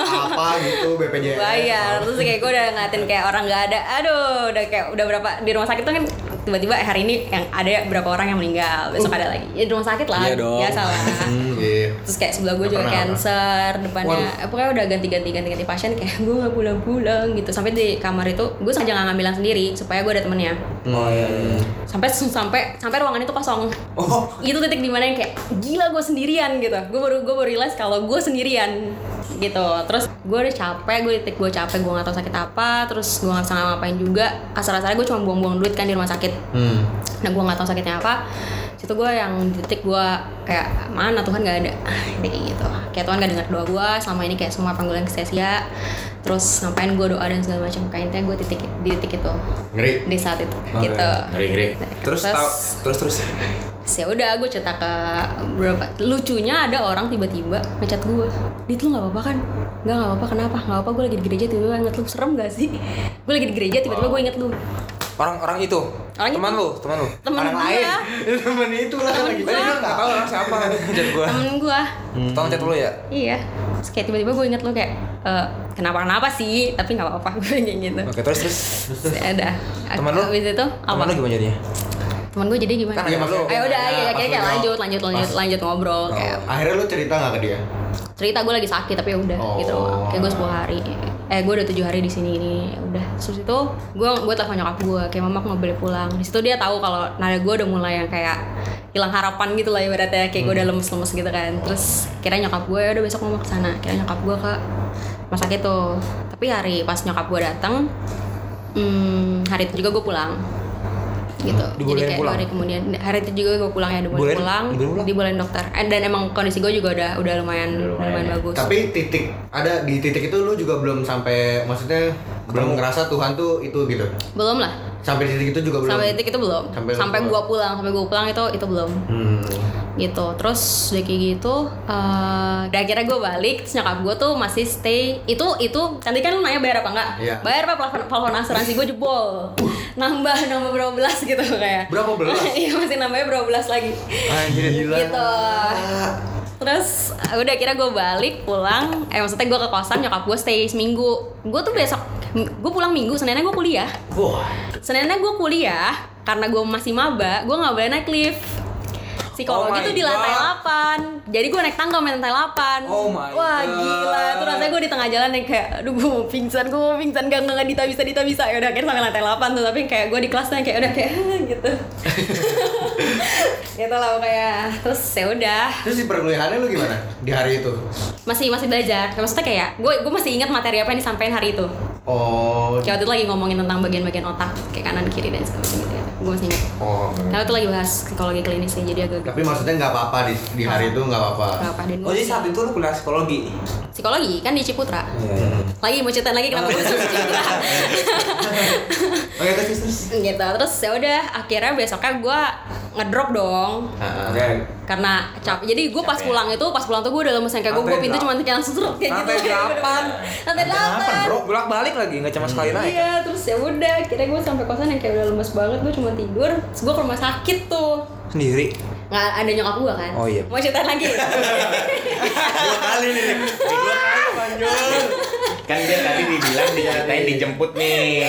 [SPEAKER 1] Apa gitu BPJS?
[SPEAKER 4] bayar terus kayak gue udah ngeliatin kayak orang nggak ada aduh udah kayak udah berapa di rumah sakit tuh kan tiba-tiba hari ini yang ada berapa orang yang meninggal besok ada lagi ya di rumah sakit lah
[SPEAKER 5] Iya dong.
[SPEAKER 4] biasa lah
[SPEAKER 1] Hmm, Iya.
[SPEAKER 4] terus kayak sebelah gue
[SPEAKER 1] Nggak
[SPEAKER 4] juga
[SPEAKER 1] pernah,
[SPEAKER 4] cancer depannya eh, pokoknya udah ganti-ganti ganti-ganti pasien kayak gue nggak pulang-pulang gitu sampai di kamar itu gue sengaja nggak ngambil yang sendiri supaya gue ada temennya
[SPEAKER 6] Oh iya. iya.
[SPEAKER 4] sampai sampai sampai ruangan itu kosong
[SPEAKER 6] Oh,
[SPEAKER 4] itu titik dimana yang kayak gila gue sendirian gitu gue baru gue baru realize kalau gue sendirian gitu terus gue udah capek gue titik gue capek gue gak tau sakit apa terus gue gak bisa ngapain juga kasar-kasarnya gue cuma buang-buang duit kan di rumah sakit
[SPEAKER 1] Hmm.
[SPEAKER 4] nah gue gak tau sakitnya apa situ gue yang di titik gue kayak mana Tuhan gak ada kayak gitu kayak Tuhan gak dengar doa gue selama ini kayak semua panggilan sia-sia terus ngapain gue doa dan segala macam kayak intinya gue titik di titik itu
[SPEAKER 1] Ngeri.
[SPEAKER 4] di saat itu
[SPEAKER 6] Oke.
[SPEAKER 4] gitu
[SPEAKER 2] Ngeri ngeri.
[SPEAKER 6] terus tau- terus terus.
[SPEAKER 4] Ya udah gue cerita ke berapa lucunya ada orang tiba-tiba ngechat gue dit lu nggak apa-apa kan nggak nggak apa-apa kenapa nggak apa gue lagi di gereja tiba-tiba inget lu serem gak sih gue lagi di gereja tiba-tiba gue inget lu
[SPEAKER 6] Orang-orang itu.
[SPEAKER 4] Orang
[SPEAKER 6] teman
[SPEAKER 4] itu.
[SPEAKER 6] lu, teman lu.
[SPEAKER 4] temen
[SPEAKER 1] Orang
[SPEAKER 4] gue
[SPEAKER 1] lain. Temen itulah
[SPEAKER 4] Temen
[SPEAKER 1] lagi.
[SPEAKER 4] gua.
[SPEAKER 1] Tadi dia nggak
[SPEAKER 6] Gak
[SPEAKER 1] tahu.
[SPEAKER 6] tau orang siapa. Chat gua.
[SPEAKER 4] temen gue
[SPEAKER 6] Tolong chat dulu ya.
[SPEAKER 4] iya Terus kayak tiba-tiba gue inget lu kayak "Eh, kenapa kenapa sih tapi nggak apa-apa gue kayak gitu
[SPEAKER 6] Oke, terus terus.
[SPEAKER 4] ya udah
[SPEAKER 6] Temen lu?
[SPEAKER 4] abis itu apa
[SPEAKER 6] Teman lu gimana jadinya?
[SPEAKER 4] temen gue jadi gimana
[SPEAKER 6] Kan ada lu.
[SPEAKER 4] ayo udah ayo
[SPEAKER 1] Pas
[SPEAKER 4] kayak kayak
[SPEAKER 1] lu-
[SPEAKER 4] lanjut lanjut lanjut lanjut ngobrol
[SPEAKER 6] Oh.
[SPEAKER 4] kayak
[SPEAKER 1] Akhirnya lu cerita nggak ke dia?
[SPEAKER 4] cerita gue lagi sakit tapi ya udah
[SPEAKER 1] Oh.
[SPEAKER 4] gitu kayak gue 10 hari eh gue udah tujuh hari di sini ini Ya udah terus itu gue gue telepon nyokap gue kayak mama aku nggak boleh pulang di situ dia tahu kalau nada gue udah mulai yang kayak hilang harapan gitu lah ibaratnya kayak gue udah lemes-lemes gitu kan terus kira nyokap gue "Ya udah besok mama kesana kira nyokap gue ke rumah sakit tuh tapi hari pas nyokap gue datang hmm, hari itu juga gue pulang gitu
[SPEAKER 6] Dibolehin
[SPEAKER 4] jadi kayak
[SPEAKER 6] pulang?
[SPEAKER 4] dua hari kemudian hari itu juga gue pulang ya dibolehin
[SPEAKER 6] Bolehin-
[SPEAKER 4] pulang
[SPEAKER 6] dibolehin pulang?
[SPEAKER 4] dibolehin dokter eh, dan emang kondisi gue juga udah udah lumayan
[SPEAKER 2] Udah
[SPEAKER 4] lumayan,
[SPEAKER 2] lumayan ya.
[SPEAKER 4] bagus
[SPEAKER 1] Tapi titik ada di titik itu lu juga belum sampai maksudnya belum ngerasa Tuhan tuh itu gitu.
[SPEAKER 4] belum lah
[SPEAKER 1] Sampai di titik itu juga belum.
[SPEAKER 4] sampai titik itu belum
[SPEAKER 1] Sampai
[SPEAKER 4] sampai,
[SPEAKER 1] lu
[SPEAKER 4] gua pulang sampai gua pulang itu itu belum
[SPEAKER 1] Hmm.
[SPEAKER 4] gitu terus udah kayak gitu eh udah akhirnya gue balik terus nyokap gue tuh masih stay itu itu nanti kan lu nanya bayar apa enggak
[SPEAKER 1] Iya.
[SPEAKER 4] bayar apa plafon, plafon asuransi gue jebol nambah nambah berapa belas gitu kayak
[SPEAKER 1] Berapa belas? Gitu.
[SPEAKER 4] iya masih nambahnya berapa belas lagi
[SPEAKER 1] Anjir.
[SPEAKER 4] gitu terus eh, udah kira gue balik pulang eh maksudnya gue ke kosan nyokap gue stay seminggu gue tuh besok gue pulang minggu seninnya gue kuliah
[SPEAKER 1] Wah.
[SPEAKER 4] seninnya gue kuliah karena gue masih maba gue nggak boleh naik lift
[SPEAKER 6] Oh
[SPEAKER 4] psikologi
[SPEAKER 6] my
[SPEAKER 4] tuh di lantai
[SPEAKER 6] God.
[SPEAKER 4] 8 jadi gue naik tangga main lantai 8
[SPEAKER 6] Oh my
[SPEAKER 4] wah
[SPEAKER 6] God.
[SPEAKER 4] gila itu rasanya gue di tengah jalan yang kayak aduh gue mau pingsan gue mau pingsan gak nggak nggak, dita bisa dita bisa ya udah akhirnya sampai lantai 8 tuh tapi kayak gue di kelas tuh yang kayak udah kayak gitu gitu lah kayak terus ya udah
[SPEAKER 1] Terus di perkuliahannya lu gimana di hari itu?
[SPEAKER 4] masih masih belajar maksudnya kayak gue gue masih ingat materi apa yang disampaikan hari itu
[SPEAKER 1] Oh.
[SPEAKER 4] kayak waktu itu lagi ngomongin tentang bagian-bagian otak kayak kanan kiri dan segala macam gitu ya gue masih
[SPEAKER 6] Hmm.
[SPEAKER 4] ingat
[SPEAKER 1] Oh.
[SPEAKER 4] Nah, itu lagi bahas psikologi klinis ya, jadi agak
[SPEAKER 1] Tapi maksudnya nggak apa-apa di, di hari itu nggak apa-apa.
[SPEAKER 4] Gak apa dan
[SPEAKER 6] Oh jadi saat itu lu kuliah psikologi?
[SPEAKER 4] psikologi kan di Ciputra.
[SPEAKER 6] Iya iya
[SPEAKER 4] Lagi mau ceritain lagi kenapa gue suka Ciputra.
[SPEAKER 6] Oke terus terus
[SPEAKER 4] gitu. Terus ya udah akhirnya besoknya gue ngedrop dong
[SPEAKER 1] Ah.
[SPEAKER 6] Oke
[SPEAKER 4] karena cap jadi gue pas pulang itu pas pulang tuh gue udah lemes yang kayak gue
[SPEAKER 6] Lantai
[SPEAKER 4] gue pintu
[SPEAKER 6] berapa?
[SPEAKER 4] cuma kayak langsung serut kayak
[SPEAKER 6] Lantai
[SPEAKER 4] gitu
[SPEAKER 6] delapan.
[SPEAKER 4] lantai delapan
[SPEAKER 6] Bro, bolak balik lagi, nggak cuma sekali naik
[SPEAKER 4] iya terus ya udah akhirnya gue sampai kosan yang kayak udah lemes banget gue cuma tidur terus gue ke rumah sakit tuh
[SPEAKER 6] Sendiri?
[SPEAKER 4] nggak ada nyokap gue kan
[SPEAKER 6] Oh, iya.
[SPEAKER 4] mau ceritain lagi
[SPEAKER 2] Dua kali nih.
[SPEAKER 6] Iya.
[SPEAKER 2] Dua kali panjul. Kan dia tadi dibilang diceritain dijemput nih.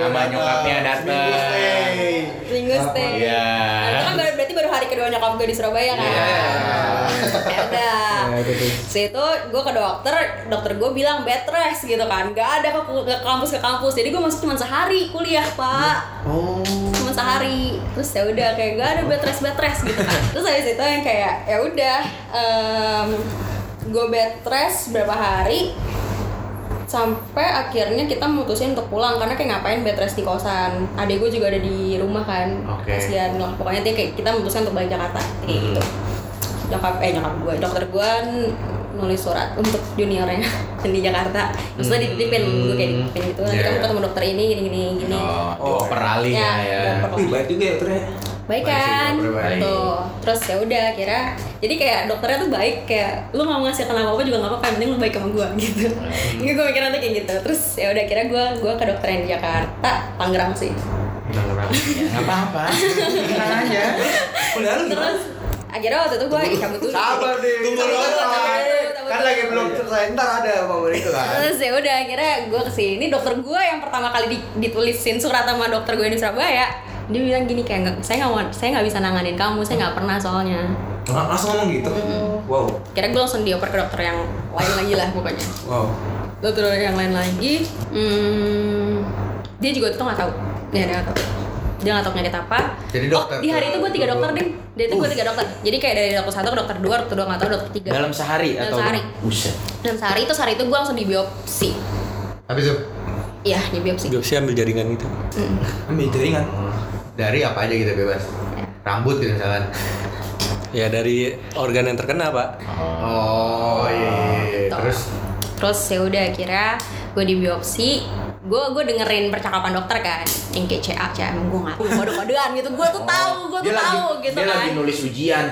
[SPEAKER 2] Sama nyokapnya
[SPEAKER 1] Seminggu
[SPEAKER 2] dateng.
[SPEAKER 1] stay.
[SPEAKER 4] Minggu stay.
[SPEAKER 2] Iya.
[SPEAKER 4] Nah, itu kan baru, berarti baru hari kedua nyokap gue di Surabaya kan.
[SPEAKER 2] Iya.
[SPEAKER 4] Ya udah.
[SPEAKER 6] Nah, itu tuh.
[SPEAKER 4] Setelah itu gue ke dokter, dokter gue bilang bed rest gitu kan. Gak ada ke, ke kampus ke kampus. Jadi gue masuk cuma sehari kuliah pak.
[SPEAKER 1] Oh.
[SPEAKER 4] Cuma sehari. Terus ya udah kayak gak ada bed rest bed rest gitu kan. Terus habis itu yang kayak ya udah em, gue bed rest berapa hari sampai akhirnya kita mutusin untuk pulang karena kayak ngapain bed rest di kosan adek gue juga ada di rumah kan
[SPEAKER 1] Oke. Hmm.
[SPEAKER 4] kasihan lah pokoknya dia kayak kita mutusin untuk balik Jakarta kayak gitu nyokap eh nyokap gue dokter gue n- nulis surat untuk juniornya yang di Jakarta maksudnya dititipin gue kayak dititipin gitu nanti
[SPEAKER 1] Iya,
[SPEAKER 4] kamu
[SPEAKER 1] iya.
[SPEAKER 4] ketemu dokter ini gini gini gini
[SPEAKER 2] Oh, perali ya. ya.
[SPEAKER 4] dioper
[SPEAKER 6] Wih baik juga ya ternyata
[SPEAKER 4] baik
[SPEAKER 1] Baik sih,
[SPEAKER 4] kan
[SPEAKER 1] dokter baik.
[SPEAKER 4] tuh terus ya udah kira jadi kayak dokternya tuh baik kayak lu nggak mau ngasih kenapa apa juga nggak apa-apa yang penting lu baik sama gue gitu
[SPEAKER 1] Hmm.
[SPEAKER 4] gitu gue mikirnya tuh kayak gitu terus ya udah kira gue gue ke dokter yang di Jakarta Tangerang sih
[SPEAKER 2] Enggak apa-apa.
[SPEAKER 1] Tenang aja.
[SPEAKER 6] Kuliah lu gimana?
[SPEAKER 4] terus akhirnya waktu itu gue cabut dulu
[SPEAKER 1] Sabar deh.
[SPEAKER 4] Tunggu dulu, sabar dulu, sabar
[SPEAKER 1] Kan
[SPEAKER 4] dulu.
[SPEAKER 1] lagi belum selesai. Ntar ada momen itu kan.
[SPEAKER 4] Terus ya udah akhirnya gue kesini dokter gue yang pertama kali di- ditulisin surat sama dokter gue di Surabaya dia bilang gini kayak "Nggak- saya nggak mau saya nggak bisa nanganin kamu saya nggak pernah soalnya
[SPEAKER 6] Lang- Langsung ngomong gitu?
[SPEAKER 4] Hmm.
[SPEAKER 6] Wow
[SPEAKER 4] kira gue langsung dioper ke dokter yang lain lagi lah pokoknya
[SPEAKER 6] Wow
[SPEAKER 4] dokter yang lain lagi hmm, dia juga tuh nggak tahu
[SPEAKER 2] Hmm.
[SPEAKER 4] dia nggak tahu dia nggak tahu penyakit apa
[SPEAKER 1] Jadi dokter
[SPEAKER 4] oh, di hari itu gue tiga
[SPEAKER 1] tuh-
[SPEAKER 4] dokter deh dia itu gue tiga dokter jadi kayak dari dokter satu ke dokter dua dokter dua nggak tahu dokter tiga
[SPEAKER 2] Dalam sehari
[SPEAKER 4] Dalam
[SPEAKER 2] atau
[SPEAKER 4] sehari.
[SPEAKER 2] Buset.
[SPEAKER 4] dan sehari itu sehari itu gue langsung di biopsi
[SPEAKER 1] Habis itu
[SPEAKER 4] iya di biopsi
[SPEAKER 5] Biopsi ambil jaringan gitu.
[SPEAKER 6] Ambil jaringan
[SPEAKER 1] dari apa aja kita bebas. Rambut gitu misalkan.
[SPEAKER 5] Ya dari organ yang terkena pak.
[SPEAKER 1] Oh iya. iya, iya.
[SPEAKER 4] Tuh.
[SPEAKER 1] Terus
[SPEAKER 4] Gitu. terus ya udah akhirnya gue di biopsi gue gue dengerin percakapan dokter kan yang kayak CA CA gue nggak tahu kode kodean gitu gue tuh tahu gue tuh
[SPEAKER 2] Oh. Dia lagi-
[SPEAKER 4] tahu gitu
[SPEAKER 2] Dia lagi
[SPEAKER 4] kan
[SPEAKER 2] nulis ujian.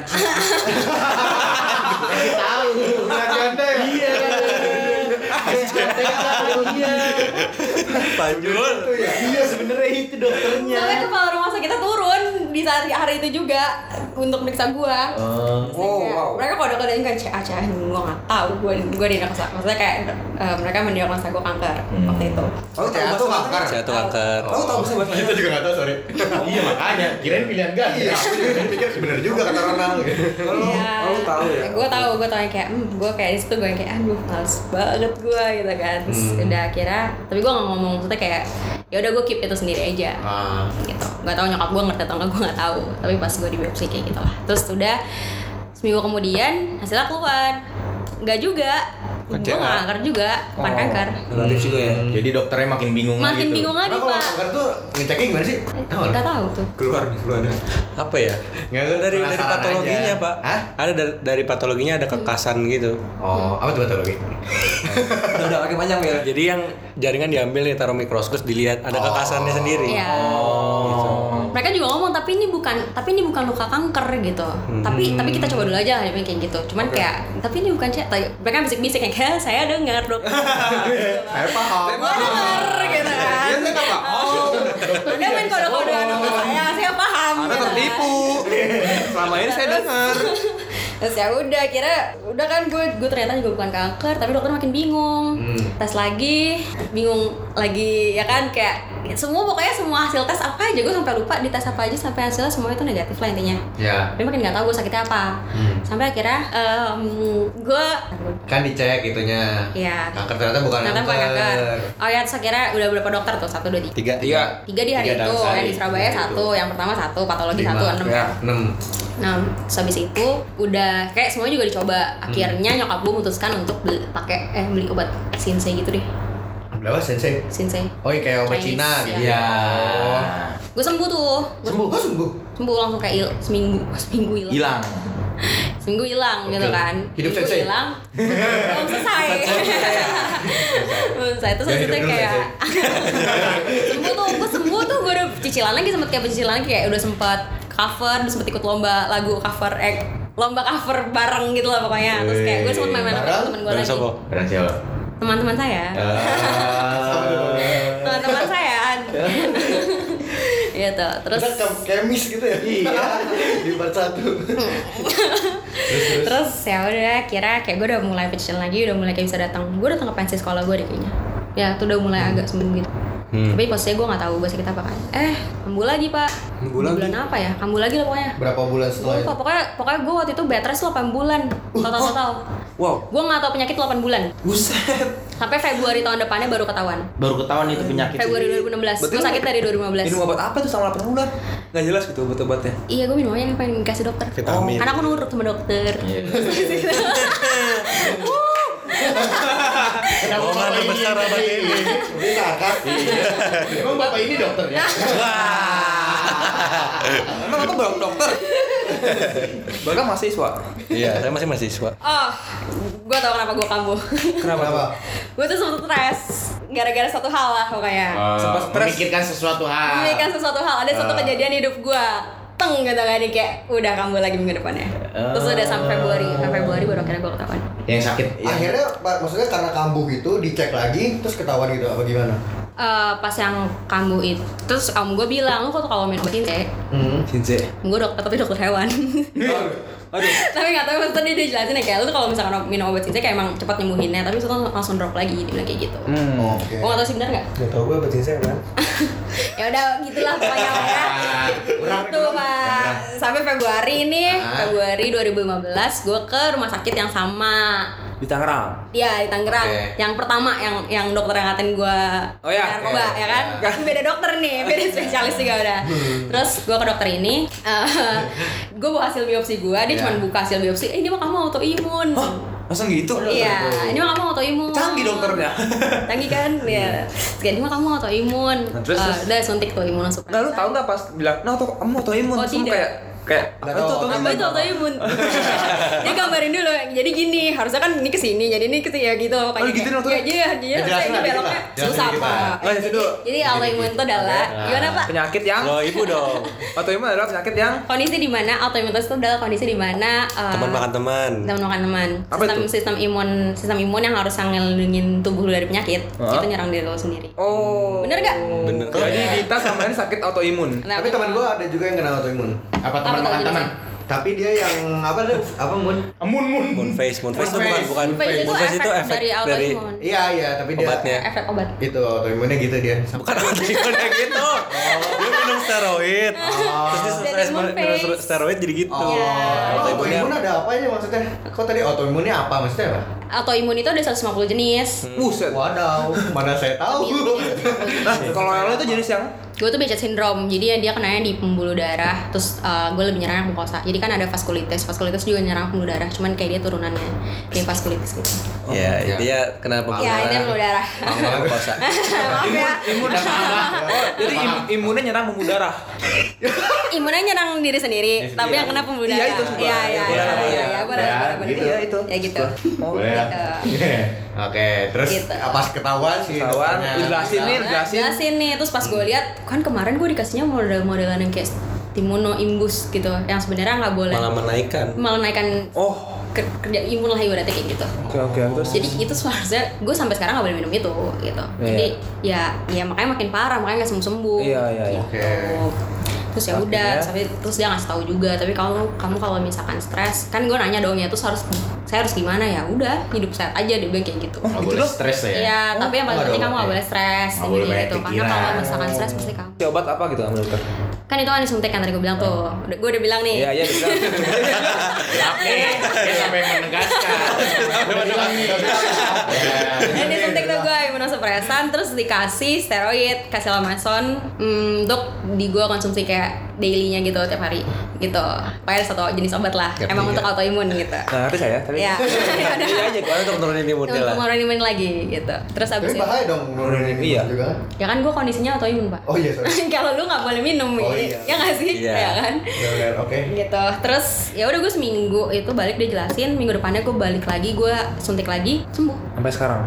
[SPEAKER 1] bulan ganda ya. Iya.
[SPEAKER 5] Panjul.
[SPEAKER 2] Iya sebenarnya itu dokternya.
[SPEAKER 6] Iya.
[SPEAKER 4] Sampai kepala rumah sakitnya turun di saat hari itu juga untuk meriksa gua.
[SPEAKER 6] Oh
[SPEAKER 4] Kayak,
[SPEAKER 6] wow
[SPEAKER 4] Mereka kode kodein kan cah cah gua nggak tahu gua gua diagnosa. Maksudnya kayak eh, mereka mendiagnosa gua kanker
[SPEAKER 6] Hmm.
[SPEAKER 4] waktu itu.
[SPEAKER 6] Aku tahu
[SPEAKER 1] Saya
[SPEAKER 6] bahasa
[SPEAKER 1] tuh kanker.
[SPEAKER 5] Saya tuh kanker.
[SPEAKER 1] Oh.
[SPEAKER 6] Aku tahu bahasa bahasa
[SPEAKER 1] Kita juga nggak tahu sorry.
[SPEAKER 2] Iya makanya. Kirain pilihan ganda.
[SPEAKER 1] Iya. aku juga Pikir sebenarnya juga kata renang.
[SPEAKER 6] Kalau lu Oh, tahu ya?
[SPEAKER 4] Gue Iya. tahu, gue tahu yang kayak, hmm, gue kayak di situ gue yang kayak, aduh, males banget gue gitu kan. Terus
[SPEAKER 6] Hmm.
[SPEAKER 4] udah akhirnya, tapi gue nggak ngomong maksudnya kayak, ya udah gue keep itu sendiri aja.
[SPEAKER 1] Ah.
[SPEAKER 4] gitu nggak tahu nyokap gue ngerti atau nggak gue nggak tahu tapi pas gue di biopsi kayak gitu lah terus udah seminggu kemudian hasilnya keluar nggak juga
[SPEAKER 5] Bukan
[SPEAKER 4] gue
[SPEAKER 5] CA.
[SPEAKER 4] nggak kanker juga bukan kanker
[SPEAKER 6] Relatif juga ya?
[SPEAKER 2] Jadi dokternya makin Oh. bingung
[SPEAKER 4] makin
[SPEAKER 2] gitu.
[SPEAKER 4] bingung lagi
[SPEAKER 1] Kenapa kalau
[SPEAKER 4] pak
[SPEAKER 1] kanker tuh ngeceknya gimana sih? Tahu
[SPEAKER 4] nggak
[SPEAKER 1] lah.
[SPEAKER 4] tahu tuh
[SPEAKER 6] Keluar nih, keluar nih
[SPEAKER 5] Apa ya?
[SPEAKER 1] Nggak, gue
[SPEAKER 5] dari dari
[SPEAKER 1] penasaran
[SPEAKER 5] patologinya
[SPEAKER 1] aja.
[SPEAKER 5] pak.
[SPEAKER 1] Hah?
[SPEAKER 5] Ada dari, dari patologinya ada kekasan gitu.
[SPEAKER 1] Oh, apa tuh patologi?
[SPEAKER 6] Udah, udah, makin panjang ya?
[SPEAKER 5] Jadi yang jaringan diambil nih taruh mikroskop terus dilihat
[SPEAKER 1] Oh.
[SPEAKER 5] ada kekasannya sendiri. gitu.
[SPEAKER 4] Iya.
[SPEAKER 5] Oh.
[SPEAKER 4] mereka juga ngomong tapi ini bukan tapi ini bukan luka kanker gitu
[SPEAKER 2] Hmm.
[SPEAKER 4] tapi tapi kita coba dulu aja dia bilang kayak gitu cuman kayak tapi ini bukan cek mereka bisik-bisik kayak "Hah, saya dengar dok
[SPEAKER 1] Saya paham.
[SPEAKER 4] gue denger gitu kan
[SPEAKER 2] Iya,
[SPEAKER 4] udah main kode-kodean sama saya saya paham
[SPEAKER 6] Anda
[SPEAKER 4] gitu kan.
[SPEAKER 6] tertipu Selama ini saya dengar
[SPEAKER 4] Terus ya udah, kira udah kan gue gue ternyata juga bukan kanker, tapi dokter makin bingung. Tes lagi, bingung lagi ya kan kayak ya semua pokoknya semua hasil tes apa aja gue sampai lupa di tes apa aja sampai hasilnya semua itu negatif lah intinya.
[SPEAKER 1] Ya. Hmm.
[SPEAKER 4] Tapi makin nggak tahu gue sakitnya apa. Sampai akhirnya em, gue
[SPEAKER 1] Kan dicek itunya.
[SPEAKER 4] Iya.
[SPEAKER 1] Kanker ternyata bukan
[SPEAKER 4] ternyata bukan kanker. Oh ya, terus akhirnya udah berapa dokter tuh? Satu, dua, tiga.
[SPEAKER 2] Tiga.
[SPEAKER 6] Iya.
[SPEAKER 4] Tiga di hari
[SPEAKER 2] Tiga dalam
[SPEAKER 4] itu,
[SPEAKER 2] sehari.
[SPEAKER 4] yang di Surabaya
[SPEAKER 2] Tiga
[SPEAKER 4] satu, yang pertama satu, patologi
[SPEAKER 1] Lima.
[SPEAKER 4] satu, enam.
[SPEAKER 6] Ya.
[SPEAKER 1] 6.
[SPEAKER 4] Nah, terus habis itu udah kayak semuanya juga dicoba. Akhirnya nyokap gue memutuskan untuk beli pakai eh beli obat Shinsei gitu deh.
[SPEAKER 1] Berapa sensei?
[SPEAKER 4] Shinsei.
[SPEAKER 1] Oh, iya, kayak obat
[SPEAKER 4] Chinese,
[SPEAKER 1] Cina gitu.
[SPEAKER 4] iya.
[SPEAKER 1] Iya.
[SPEAKER 4] Gue sembuh tuh. Gua
[SPEAKER 1] Sembuh, oh, sembuh.
[SPEAKER 4] sembuh langsung kayak il- seminggu, seminggu hilang.
[SPEAKER 2] Hilang.
[SPEAKER 4] Seminggu hilang gitu
[SPEAKER 1] Oke.
[SPEAKER 4] kan.
[SPEAKER 1] Hidup
[SPEAKER 4] Seminggu
[SPEAKER 1] Sensei.
[SPEAKER 4] hilang. Belum selesai. Belum selesai. Terus
[SPEAKER 1] Ya,
[SPEAKER 4] habis
[SPEAKER 1] hidup
[SPEAKER 4] itu
[SPEAKER 1] dulu,
[SPEAKER 4] kayak sembuh tuh, gue sembuh tuh gue udah cicilan lagi sempet kayak pencicilan lagi kayak udah sempet cover, udah sempet ikut lomba lagu cover eh lomba cover bareng gitu lah pokoknya terus kayak gue sempet main-main sama temen gue
[SPEAKER 5] Bareng
[SPEAKER 4] lagi
[SPEAKER 5] siapa?
[SPEAKER 2] Barang siapa?
[SPEAKER 4] teman-teman saya
[SPEAKER 1] Eh.
[SPEAKER 5] Iya.
[SPEAKER 4] teman-teman saya gitu terus
[SPEAKER 1] Kita ke- kemis gitu ya? Iya. Di part 1.
[SPEAKER 4] terus ya udah kira kayak gue udah mulai pencicilan lagi udah mulai kayak bisa datang gue datang ke pensi sekolah gue deh kayaknya ya tuh udah mulai agak sembuh gitu
[SPEAKER 1] Hmm.
[SPEAKER 4] tapi posisinya gue nggak tahu gue sakit apa kan eh kambuh lagi pak
[SPEAKER 6] Kambuh lagi?
[SPEAKER 4] bulan apa ya kambuh lagi lah pokoknya
[SPEAKER 1] Berapa bulan
[SPEAKER 4] Gua
[SPEAKER 1] setelah
[SPEAKER 4] lupa
[SPEAKER 1] itu?
[SPEAKER 4] pokoknya pokoknya gue waktu itu bed rest 8 bulan
[SPEAKER 1] Uh.
[SPEAKER 4] total total
[SPEAKER 6] Wow.
[SPEAKER 4] gue nggak tahu penyakit 8 bulan
[SPEAKER 6] Buset.
[SPEAKER 4] sampai Februari tahun depannya baru ketahuan
[SPEAKER 2] Baru ketahuan itu penyakit.
[SPEAKER 4] Februari 2016
[SPEAKER 6] Berarti
[SPEAKER 4] gue
[SPEAKER 6] lu-
[SPEAKER 4] sakit dari 2015
[SPEAKER 6] Minum obat apa tuh sama 8 bulan? Nggak jelas gitu obat-obatnya.
[SPEAKER 4] Iya gue minum aja yang pengen dikasih dokter
[SPEAKER 5] Vitamin.
[SPEAKER 4] Karena aku nurut sama dokter
[SPEAKER 1] Kenapa
[SPEAKER 5] Oh, mana besar obat ini? Iya.
[SPEAKER 1] Ini kakak. Emang Iya, kan? bapak ini dokter ya?
[SPEAKER 6] Emang aku belum dokter. Bahkan mahasiswa.
[SPEAKER 5] Iya, saya masih mahasiswa.
[SPEAKER 4] Oh Gue tau kenapa gue kambuh
[SPEAKER 1] Kenapa?
[SPEAKER 4] Gue tuh sempet stres Gara-gara satu hal lah pokoknya
[SPEAKER 2] Sempat
[SPEAKER 6] Sempat stres.
[SPEAKER 2] Memikirkan sesuatu hal.
[SPEAKER 4] Ini kan sesuatu hal Ada suatu kejadian di hidup gue Teng gitu kan nih Kayak udah kambuh lagi minggu depannya Terus udah sampai Februari Sampai Februari baru akhirnya gue ketahuan
[SPEAKER 2] Yang sakit.
[SPEAKER 5] Iya.
[SPEAKER 2] yang-
[SPEAKER 1] Akhirnya Pak, maksudnya karena kambuh gitu dicek lagi terus ketahuan gitu apa gimana?
[SPEAKER 4] Eh, Pas yang kambuh itu Terus om gue bilang Lu kok kalau minum obat kayak
[SPEAKER 1] Hmm.
[SPEAKER 6] Sinse.
[SPEAKER 4] Gue dokter tapi dokter hewan
[SPEAKER 6] Aduh.
[SPEAKER 4] tapi nggak tahu maksudnya dia, dia jelasin ya kayak lu tuh kalau misalkan minum obat cincin kayak emang cepat nyembuhinnya tapi itu langsung drop lagi dia bilang kayak gitu
[SPEAKER 1] Hmm.
[SPEAKER 5] Hmm.
[SPEAKER 1] Oh, Oke.
[SPEAKER 4] Gue gak tau sih bener gak?
[SPEAKER 5] Gak tau gue apa saya kan?
[SPEAKER 4] Ya udah gitulah pokoknya lah ya. Tuh Pak. Sampai Februari ini, Februari 2015 gue ke rumah sakit yang sama.
[SPEAKER 6] Di Tangerang.
[SPEAKER 4] Iya di Tangerang.
[SPEAKER 1] Oke.
[SPEAKER 4] Yang pertama yang yang dokter yang ngatain gue
[SPEAKER 6] Oh ya,
[SPEAKER 4] narkoba
[SPEAKER 6] oke.
[SPEAKER 4] ya kan?
[SPEAKER 6] Ya.
[SPEAKER 4] Beda dokter nih, beda spesialis juga udah.
[SPEAKER 6] Hmm.
[SPEAKER 4] Terus gue ke dokter ini, gue bawa hasil biopsi gue, dia cuma buka hasil biopsi, eh ini mah kamu autoimun.
[SPEAKER 6] Iya. Hah? Langsung gitu?
[SPEAKER 4] Iya, ini mah kamu autoimun.
[SPEAKER 6] Canggih dokternya.
[SPEAKER 4] Canggih kan? Iya. Terus kayak, ini mah kamu autoimun.
[SPEAKER 6] Nah, terus-
[SPEAKER 4] Eh,
[SPEAKER 6] terus?
[SPEAKER 4] udah suntik tuh imun langsung.
[SPEAKER 6] Nah lu tau gak pas bilang, nah tuh kamu autoimun
[SPEAKER 4] Oh,
[SPEAKER 6] Terus lu
[SPEAKER 4] tidak.
[SPEAKER 6] kayak kayak
[SPEAKER 1] Nggak
[SPEAKER 6] apa itu
[SPEAKER 1] tahu.
[SPEAKER 6] autoimun?
[SPEAKER 4] Apa itu autoimun? Dia gambarin dulu. Jadi gini, harusnya kan ini kesini, jadi ini kesini ya gitu. Pokoknya
[SPEAKER 6] Oh, gituin
[SPEAKER 4] kayak-
[SPEAKER 6] waktu itu?
[SPEAKER 4] Ya, iya, jadi
[SPEAKER 1] Ya,
[SPEAKER 4] harusnya
[SPEAKER 1] jelasin
[SPEAKER 4] ini
[SPEAKER 1] lah,
[SPEAKER 4] beloknya
[SPEAKER 1] gitu lah. Jelasin
[SPEAKER 4] susah
[SPEAKER 1] dikit
[SPEAKER 4] apa.
[SPEAKER 1] lah.
[SPEAKER 6] Oh, ya,
[SPEAKER 4] Jadi,
[SPEAKER 6] dulu.
[SPEAKER 4] jadi autoimun itu adalah gimana pak?
[SPEAKER 6] Penyakit yang
[SPEAKER 5] Lo ibu dong.
[SPEAKER 6] autoimun adalah penyakit yang
[SPEAKER 4] Kondisi di mana autoimun itu adalah kondisi di mana eh,
[SPEAKER 5] Teman makan teman.
[SPEAKER 4] teman makan teman
[SPEAKER 6] Apa
[SPEAKER 4] sistem
[SPEAKER 6] itu?
[SPEAKER 4] sistem imun sistem imun yang harus ngelindungin tubuh lu dari penyakit itu nyerang diri lo sendiri
[SPEAKER 6] Oh.
[SPEAKER 4] Bener nggak?
[SPEAKER 5] Bener.
[SPEAKER 6] Jadi Dita sama ini sakit autoimun.
[SPEAKER 4] Nah,
[SPEAKER 1] Tapi teman gua ada juga yang kena autoimun.
[SPEAKER 2] Apa teman
[SPEAKER 4] Apa
[SPEAKER 2] makan
[SPEAKER 4] tuh
[SPEAKER 2] teman?
[SPEAKER 1] Tapi dia yang apa tuh? Apa mun?
[SPEAKER 2] Amun mun.
[SPEAKER 5] Moon face, moon face itu bukan bukan
[SPEAKER 4] Moon face itu
[SPEAKER 5] moon face itu
[SPEAKER 4] efek
[SPEAKER 5] efek
[SPEAKER 4] dari
[SPEAKER 5] dari
[SPEAKER 4] autoimun.
[SPEAKER 1] Iya iya, tapi dia
[SPEAKER 5] Obatnya.
[SPEAKER 4] efek obat
[SPEAKER 1] itu autoimunnya gitu dia.
[SPEAKER 5] bukan autoimun yang gitu. Dia minum steroid.
[SPEAKER 4] Oh.
[SPEAKER 5] Terus dia
[SPEAKER 4] Dari
[SPEAKER 5] stres
[SPEAKER 4] moon
[SPEAKER 5] banget minum
[SPEAKER 4] face.
[SPEAKER 5] steroid jadi gitu.
[SPEAKER 1] Oh,
[SPEAKER 5] Autoimunnya-
[SPEAKER 1] autoimun ada apa ya maksudnya? Kok tadi autoimunnya apa maksudnya apa?
[SPEAKER 4] autoimun itu ada 150 jenis
[SPEAKER 6] Buset.
[SPEAKER 1] Wadaw, mana saya tahu.
[SPEAKER 4] Iya,
[SPEAKER 6] Nah, kalau yang lo itu jenis yang
[SPEAKER 4] gue tuh Behcet syndrome jadi ya dia kenanya di pembuluh darah terus gue lebih nyerang yang mukosa jadi kan ada vaskulitis vaskulitis juga nyerang pembuluh darah cuman kayak dia turunannya kayak vaskulitis gitu
[SPEAKER 5] Ya,
[SPEAKER 1] Iya.
[SPEAKER 5] dia kena pembuluh
[SPEAKER 4] ya ini pembuluh darah
[SPEAKER 5] Kosa.
[SPEAKER 4] maaf ya
[SPEAKER 2] Imun apa?
[SPEAKER 4] Oh, iya.
[SPEAKER 6] jadi im imunnya nyerang pembuluh darah.
[SPEAKER 4] imunnya nyerang diri sendiri tapi yang kena pembuluh darah
[SPEAKER 6] Iya, itu sebab.
[SPEAKER 4] iya iya iya
[SPEAKER 6] Iya, boleh,
[SPEAKER 4] iya
[SPEAKER 6] boleh.
[SPEAKER 4] iya boleh
[SPEAKER 2] Ya,
[SPEAKER 4] boleh, boleh.
[SPEAKER 2] gitu.
[SPEAKER 6] Iya, itu.
[SPEAKER 4] ya gitu
[SPEAKER 6] Oh.
[SPEAKER 2] Boleh.
[SPEAKER 4] Iya.
[SPEAKER 2] Iya.
[SPEAKER 1] Oke, terus
[SPEAKER 4] Gitu.
[SPEAKER 1] pas ketahuan sih. Iya.
[SPEAKER 6] Ketahuan,
[SPEAKER 1] dokternya.
[SPEAKER 6] dijelasin nih, dijelasin.
[SPEAKER 4] jelasin nih terus pas gue lihat kan kemarin gue dikasihnya model-modelan yang kayak timuno imbus gitu yang sebenarnya nggak boleh
[SPEAKER 5] Malah menaikkan.
[SPEAKER 4] malah naikkan
[SPEAKER 6] Oh.
[SPEAKER 4] ker- kerja imun lah ibaratnya kayak gitu
[SPEAKER 6] Oke oke terus.
[SPEAKER 4] jadi itu seharusnya gue sampai sekarang gak boleh minum itu gitu jadi ya ya makanya makin parah makanya gak sembuh sembuh
[SPEAKER 6] Iya, iya, iya.
[SPEAKER 1] Oke.
[SPEAKER 4] terus ya udah terus, tapi- terus dia ngasih tahu juga tapi kalau kamu kalau misalkan stres kan gue nanya dong ya terus harus saya harus gimana ya udah hidup sehat aja dia bilang kayak gitu
[SPEAKER 2] Nggak boleh stres ya.
[SPEAKER 4] Iya, tapi yang paling
[SPEAKER 2] nggak
[SPEAKER 4] penting kamu
[SPEAKER 2] boleh.
[SPEAKER 4] gak boleh stres
[SPEAKER 2] Nggak boleh
[SPEAKER 4] intinya
[SPEAKER 2] banyak
[SPEAKER 4] gitu. Karena
[SPEAKER 2] pikiran.
[SPEAKER 4] kalau misalkan stres pasti kamu
[SPEAKER 6] Tapi obat apa gitu sama dokter?
[SPEAKER 4] Kan itu kan disuntik kan tadi gue bilang tuh Udah- Gue udah bilang nih Iya.
[SPEAKER 6] Iya, iya bisa.
[SPEAKER 2] Tapi
[SPEAKER 4] Eh,
[SPEAKER 2] dia sampai menegaskan.
[SPEAKER 1] Iya.
[SPEAKER 4] Dan disuntik tuh gue imunosupresan Terus dikasih steroid, kasih lamason hmm, Untuk di gue konsumsi kayak dailynya gitu tiap hari Gitu Pokoknya satu jenis obat lah
[SPEAKER 1] Tiap
[SPEAKER 4] Emang
[SPEAKER 1] tiga.
[SPEAKER 4] untuk autoimun gitu
[SPEAKER 6] Nah, ngerti saya, tapi
[SPEAKER 4] Iya.
[SPEAKER 6] Iya aja kan untuk nurunin imun
[SPEAKER 4] Untuk
[SPEAKER 6] dia lah.
[SPEAKER 4] ngeluarin imun lagi gitu Terus abis
[SPEAKER 1] Tapi
[SPEAKER 4] itu
[SPEAKER 1] bahaya dong nurunin ini
[SPEAKER 6] Iya.
[SPEAKER 1] juga kan?
[SPEAKER 4] Ya kan gue kondisinya autoimun pak
[SPEAKER 1] Oh iya, sorry.
[SPEAKER 4] Kalau lu gak boleh minum
[SPEAKER 1] Oh,
[SPEAKER 4] gitu.
[SPEAKER 1] iya.
[SPEAKER 4] Ya gak sih?
[SPEAKER 6] Iya.
[SPEAKER 4] Ya kan?
[SPEAKER 1] Bener, Oke.
[SPEAKER 4] gitu terus ya udah gue seminggu itu balik dia jelasin minggu depannya gue balik lagi gue suntik lagi sembuh
[SPEAKER 6] Sampai sekarang.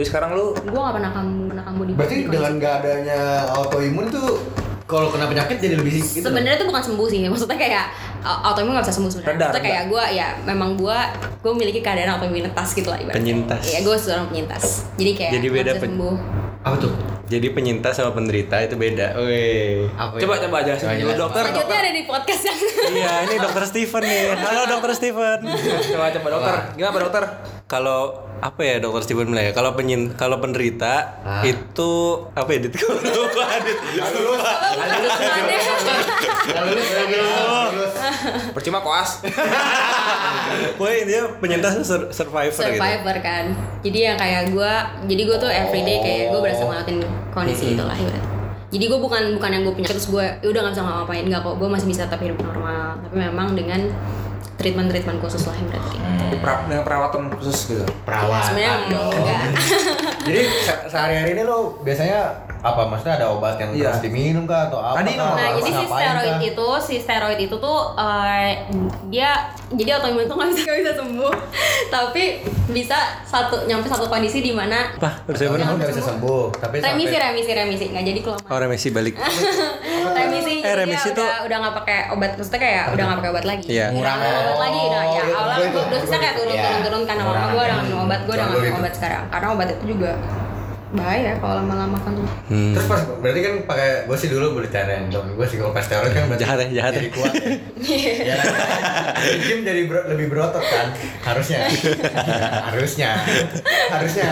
[SPEAKER 6] Jadi sekarang lu
[SPEAKER 4] gue gak pernah kamu pernah kamu di
[SPEAKER 1] Berarti
[SPEAKER 4] di-
[SPEAKER 1] dengan nggak adanya autoimun tuh kalau kena penyakit jadi lebih gitu. dong?
[SPEAKER 4] sebenarnya itu bukan sembuh sih maksudnya kayak uh, autoimun gak bisa sembuh sebenarnya
[SPEAKER 6] Reda,
[SPEAKER 4] maksudnya
[SPEAKER 6] reda.
[SPEAKER 4] kayak gue ya memang gue gue memiliki keadaan autoimunitas gitu lah ibaratnya
[SPEAKER 5] Penyintas.
[SPEAKER 4] iya gue seorang penyintas jadi kayak
[SPEAKER 5] Jadi
[SPEAKER 4] nggak
[SPEAKER 5] beda
[SPEAKER 4] bisa
[SPEAKER 5] pen-
[SPEAKER 4] sembuh
[SPEAKER 1] apa tuh?
[SPEAKER 5] Jadi penyintas sama penderita itu beda. Oh, Weh.
[SPEAKER 1] Apa ya?
[SPEAKER 6] coba coba jelasin
[SPEAKER 1] Coba
[SPEAKER 6] dulu
[SPEAKER 1] jelasin.
[SPEAKER 6] dokter.
[SPEAKER 4] selanjutnya ada di podcast yang
[SPEAKER 5] Iya, ini dokter Steven nih. Halo dokter Steven.
[SPEAKER 6] Coba coba dokter. Gimana Pak, dokter?
[SPEAKER 5] Kalau apa ya dokter Steven bilang ya? Kalau penyin kalau penderita
[SPEAKER 1] Ah.
[SPEAKER 5] itu apa ya? Dit? Gua lupa, Dit.
[SPEAKER 6] Iya. Percuma koas.
[SPEAKER 5] Woi, dia penyintas sur- survivor, gitu.
[SPEAKER 4] survivor kan jadi yang kayak gue jadi gue tuh everyday kayak gue berasa
[SPEAKER 5] Oh.
[SPEAKER 4] ngelakuin kondisi itulah ibaratnya jadi gue bukan bukan yang gue punya terus gue "Ya udah gak bisa ngapain nggak kok gue masih bisa tetap hidup normal tapi memang dengan treatment treatment khusus lah ibaratnya
[SPEAKER 6] Pra- Dengan perawatan khusus gitu.
[SPEAKER 2] Perawat.
[SPEAKER 4] sebenarnya enggak
[SPEAKER 1] Jadi se- sehari-hari ini lo biasanya apa maksudnya ada obat yang
[SPEAKER 6] Iya.
[SPEAKER 1] harus diminum kah atau apa?
[SPEAKER 6] Tadi
[SPEAKER 1] kah?
[SPEAKER 4] nah
[SPEAKER 6] Oh,
[SPEAKER 1] Apa-
[SPEAKER 4] jadi si
[SPEAKER 1] ngapain
[SPEAKER 4] steroid
[SPEAKER 1] kah?
[SPEAKER 4] itu si steroid itu tuh eh, dia jadi autoimun tuh nggak bisa nggak bisa sembuh tapi bisa satu nyampe satu kondisi di mana
[SPEAKER 5] Apa? Terus saya
[SPEAKER 1] Tapi
[SPEAKER 4] Iya.
[SPEAKER 5] bener.
[SPEAKER 1] kan nggak bisa sembuh, tapi
[SPEAKER 4] remisi
[SPEAKER 1] sampai-
[SPEAKER 4] remisi remisi nggak jadi keluar
[SPEAKER 5] Orang Messi balik.
[SPEAKER 4] remisi
[SPEAKER 5] Eh,
[SPEAKER 4] jadi dia
[SPEAKER 5] remisi
[SPEAKER 4] udah
[SPEAKER 5] tuh-
[SPEAKER 4] udah nggak pakai obat maksudnya kayak udah nggak pakai obat lagi
[SPEAKER 5] Iya.
[SPEAKER 4] Udah nggak pakai obat lagi udah ya
[SPEAKER 1] Oh,
[SPEAKER 4] awalnya
[SPEAKER 1] iya,
[SPEAKER 4] gue
[SPEAKER 1] iya.
[SPEAKER 4] dosisnya kayak turun
[SPEAKER 2] Iya.
[SPEAKER 4] turun turun karena lama
[SPEAKER 2] Kurang.
[SPEAKER 4] gue udah nggak minum obat gue udah nggak
[SPEAKER 1] Jangan
[SPEAKER 4] minum
[SPEAKER 1] gitu.
[SPEAKER 4] obat sekarang karena obat itu juga bahaya kalau lama-lama kan tuh
[SPEAKER 5] Hmm.
[SPEAKER 1] Terus pas berarti kan pakai gue sih dulu bercanda dong gue sih kalau pas steroid kan berarti
[SPEAKER 5] Jahat ya, jahat
[SPEAKER 1] jadi
[SPEAKER 5] ya.
[SPEAKER 1] kuat ya. Iya kan? Di gym jadi ber- lebih berotot kan harusnya harusnya harusnya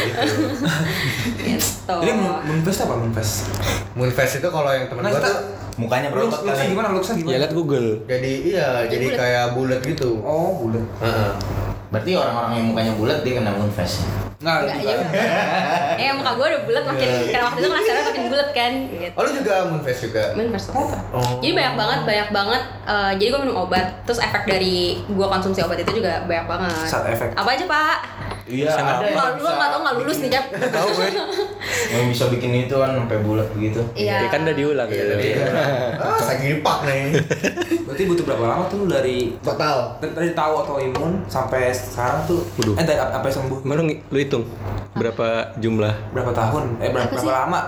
[SPEAKER 1] gitu.
[SPEAKER 4] gitu
[SPEAKER 6] Jadi moon- moonfest apa moonfest?
[SPEAKER 1] Moonfest itu kalau yang temen
[SPEAKER 6] Nah,
[SPEAKER 1] gue
[SPEAKER 6] kita
[SPEAKER 1] tuh
[SPEAKER 2] Mukanya berotot
[SPEAKER 6] lux- luxnya
[SPEAKER 2] kali.
[SPEAKER 6] gimana? Luxnya
[SPEAKER 5] Ya
[SPEAKER 6] gimana?
[SPEAKER 5] lihat Google.
[SPEAKER 1] jadi iya jadi
[SPEAKER 4] bulat.
[SPEAKER 1] kayak bulat gitu.
[SPEAKER 6] Oh, bulat.
[SPEAKER 1] Heeh.
[SPEAKER 2] Berarti orang-orang yang mukanya bulat dia kena moon face.
[SPEAKER 6] Nah,
[SPEAKER 4] Enggak
[SPEAKER 6] gitu.
[SPEAKER 4] juga. Iya. Eh muka gue udah bulat makin karena waktu itu kelas makin bulat kan. Gitu.
[SPEAKER 1] Iya. Oh lu juga Moonfest juga?
[SPEAKER 4] Men versus apa?
[SPEAKER 1] Oh.
[SPEAKER 4] Jadi banyak banget, banyak banget. eh, jadi gue minum obat, terus efek
[SPEAKER 1] Iya.
[SPEAKER 4] dari gue konsumsi obat itu juga banyak banget.
[SPEAKER 6] Side effect.
[SPEAKER 4] Apa aja pak?
[SPEAKER 2] Iya, ada
[SPEAKER 4] Lu
[SPEAKER 2] yang
[SPEAKER 4] lu nggak tau nggak lulus nih Cap?
[SPEAKER 1] Iya.
[SPEAKER 5] Tahu gue.
[SPEAKER 2] yang bisa bikin itu kan sampai bulat begitu.
[SPEAKER 4] Iya.
[SPEAKER 5] Ya kan udah diulang ya tadi.
[SPEAKER 1] ah, saking pak nih.
[SPEAKER 6] Berarti butuh berapa lama tuh lu dari
[SPEAKER 1] Total.
[SPEAKER 6] dari dari tahu autoimun sampai sekarang tuh
[SPEAKER 5] Waduh.
[SPEAKER 6] eh dari sampai sembuh
[SPEAKER 5] Mana lu- lu hitung berapa jumlah?
[SPEAKER 6] berapa tahun eh berapa,
[SPEAKER 4] Apa sih?
[SPEAKER 6] berapa lama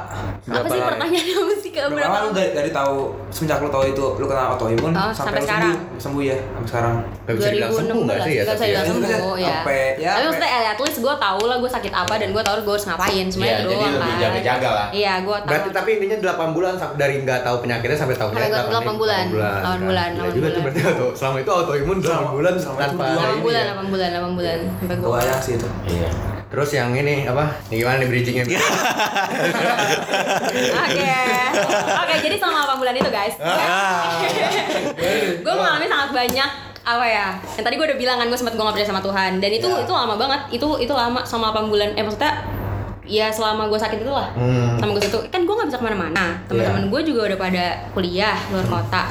[SPEAKER 4] Apa sih
[SPEAKER 5] lama?
[SPEAKER 4] pertanyaan apa sih Kak?
[SPEAKER 6] berapa,
[SPEAKER 4] Berapa?
[SPEAKER 6] lama lu dari, dari tahu semenjak lu tahu itu lu kena autoimun
[SPEAKER 4] Oh, sampai
[SPEAKER 6] sampai, lu
[SPEAKER 4] sekarang.
[SPEAKER 6] sembuh sembuh ya sampai sekarang
[SPEAKER 1] Gak bisa dibilang sembuh gak sih ya?
[SPEAKER 4] Gak
[SPEAKER 1] tapi ya?
[SPEAKER 4] bisa dibilang
[SPEAKER 2] Iya.
[SPEAKER 4] sembuh ya.
[SPEAKER 6] Sampai- ya,
[SPEAKER 4] Tapi
[SPEAKER 6] sampai-
[SPEAKER 4] maksudnya eh, at least gue tau lah gue sakit apa dan gue tau gue harus ngapain semuanya
[SPEAKER 2] Iya,
[SPEAKER 4] itu
[SPEAKER 2] jadi
[SPEAKER 4] doang
[SPEAKER 2] lebih jaga-jaga lah.
[SPEAKER 4] Iya gue tau
[SPEAKER 1] Berarti tapi intinya 8 bulan sam- dari nggak tahu penyakitnya sampai tahu
[SPEAKER 4] Sampai
[SPEAKER 1] penyakit
[SPEAKER 4] nggak- 8 bulan. 8 bulan,
[SPEAKER 1] Gila
[SPEAKER 4] 8
[SPEAKER 1] juga tuh
[SPEAKER 4] bulan.
[SPEAKER 1] berarti auto, selama itu autoimun 8 bulan
[SPEAKER 6] selama itu
[SPEAKER 1] tanpa
[SPEAKER 6] dua
[SPEAKER 4] 8
[SPEAKER 1] ini
[SPEAKER 4] bulan,
[SPEAKER 1] ya.
[SPEAKER 4] 8 bulan, 8 bulan Sampai
[SPEAKER 6] Gak
[SPEAKER 4] gue
[SPEAKER 6] bayang sih itu
[SPEAKER 2] Iya.
[SPEAKER 1] Terus yang ini apa? Ini gimana nih bridgingnya?
[SPEAKER 6] Iya.
[SPEAKER 4] Oke. Oke, jadi selama 8 bulan itu, guys. Iya. gue mengalami sangat banyak apa ya? Yang tadi gue udah bilang kan gue sempat gue nggak percaya sama Tuhan dan itu itu lama banget. Itu itu lama sama 8 bulan. Eh maksudnya ya selama gue sakit itu lah
[SPEAKER 1] Hmm.
[SPEAKER 4] sama gue itu kan gue nggak bisa kemana-mana teman-teman gue juga udah pada kuliah luar kota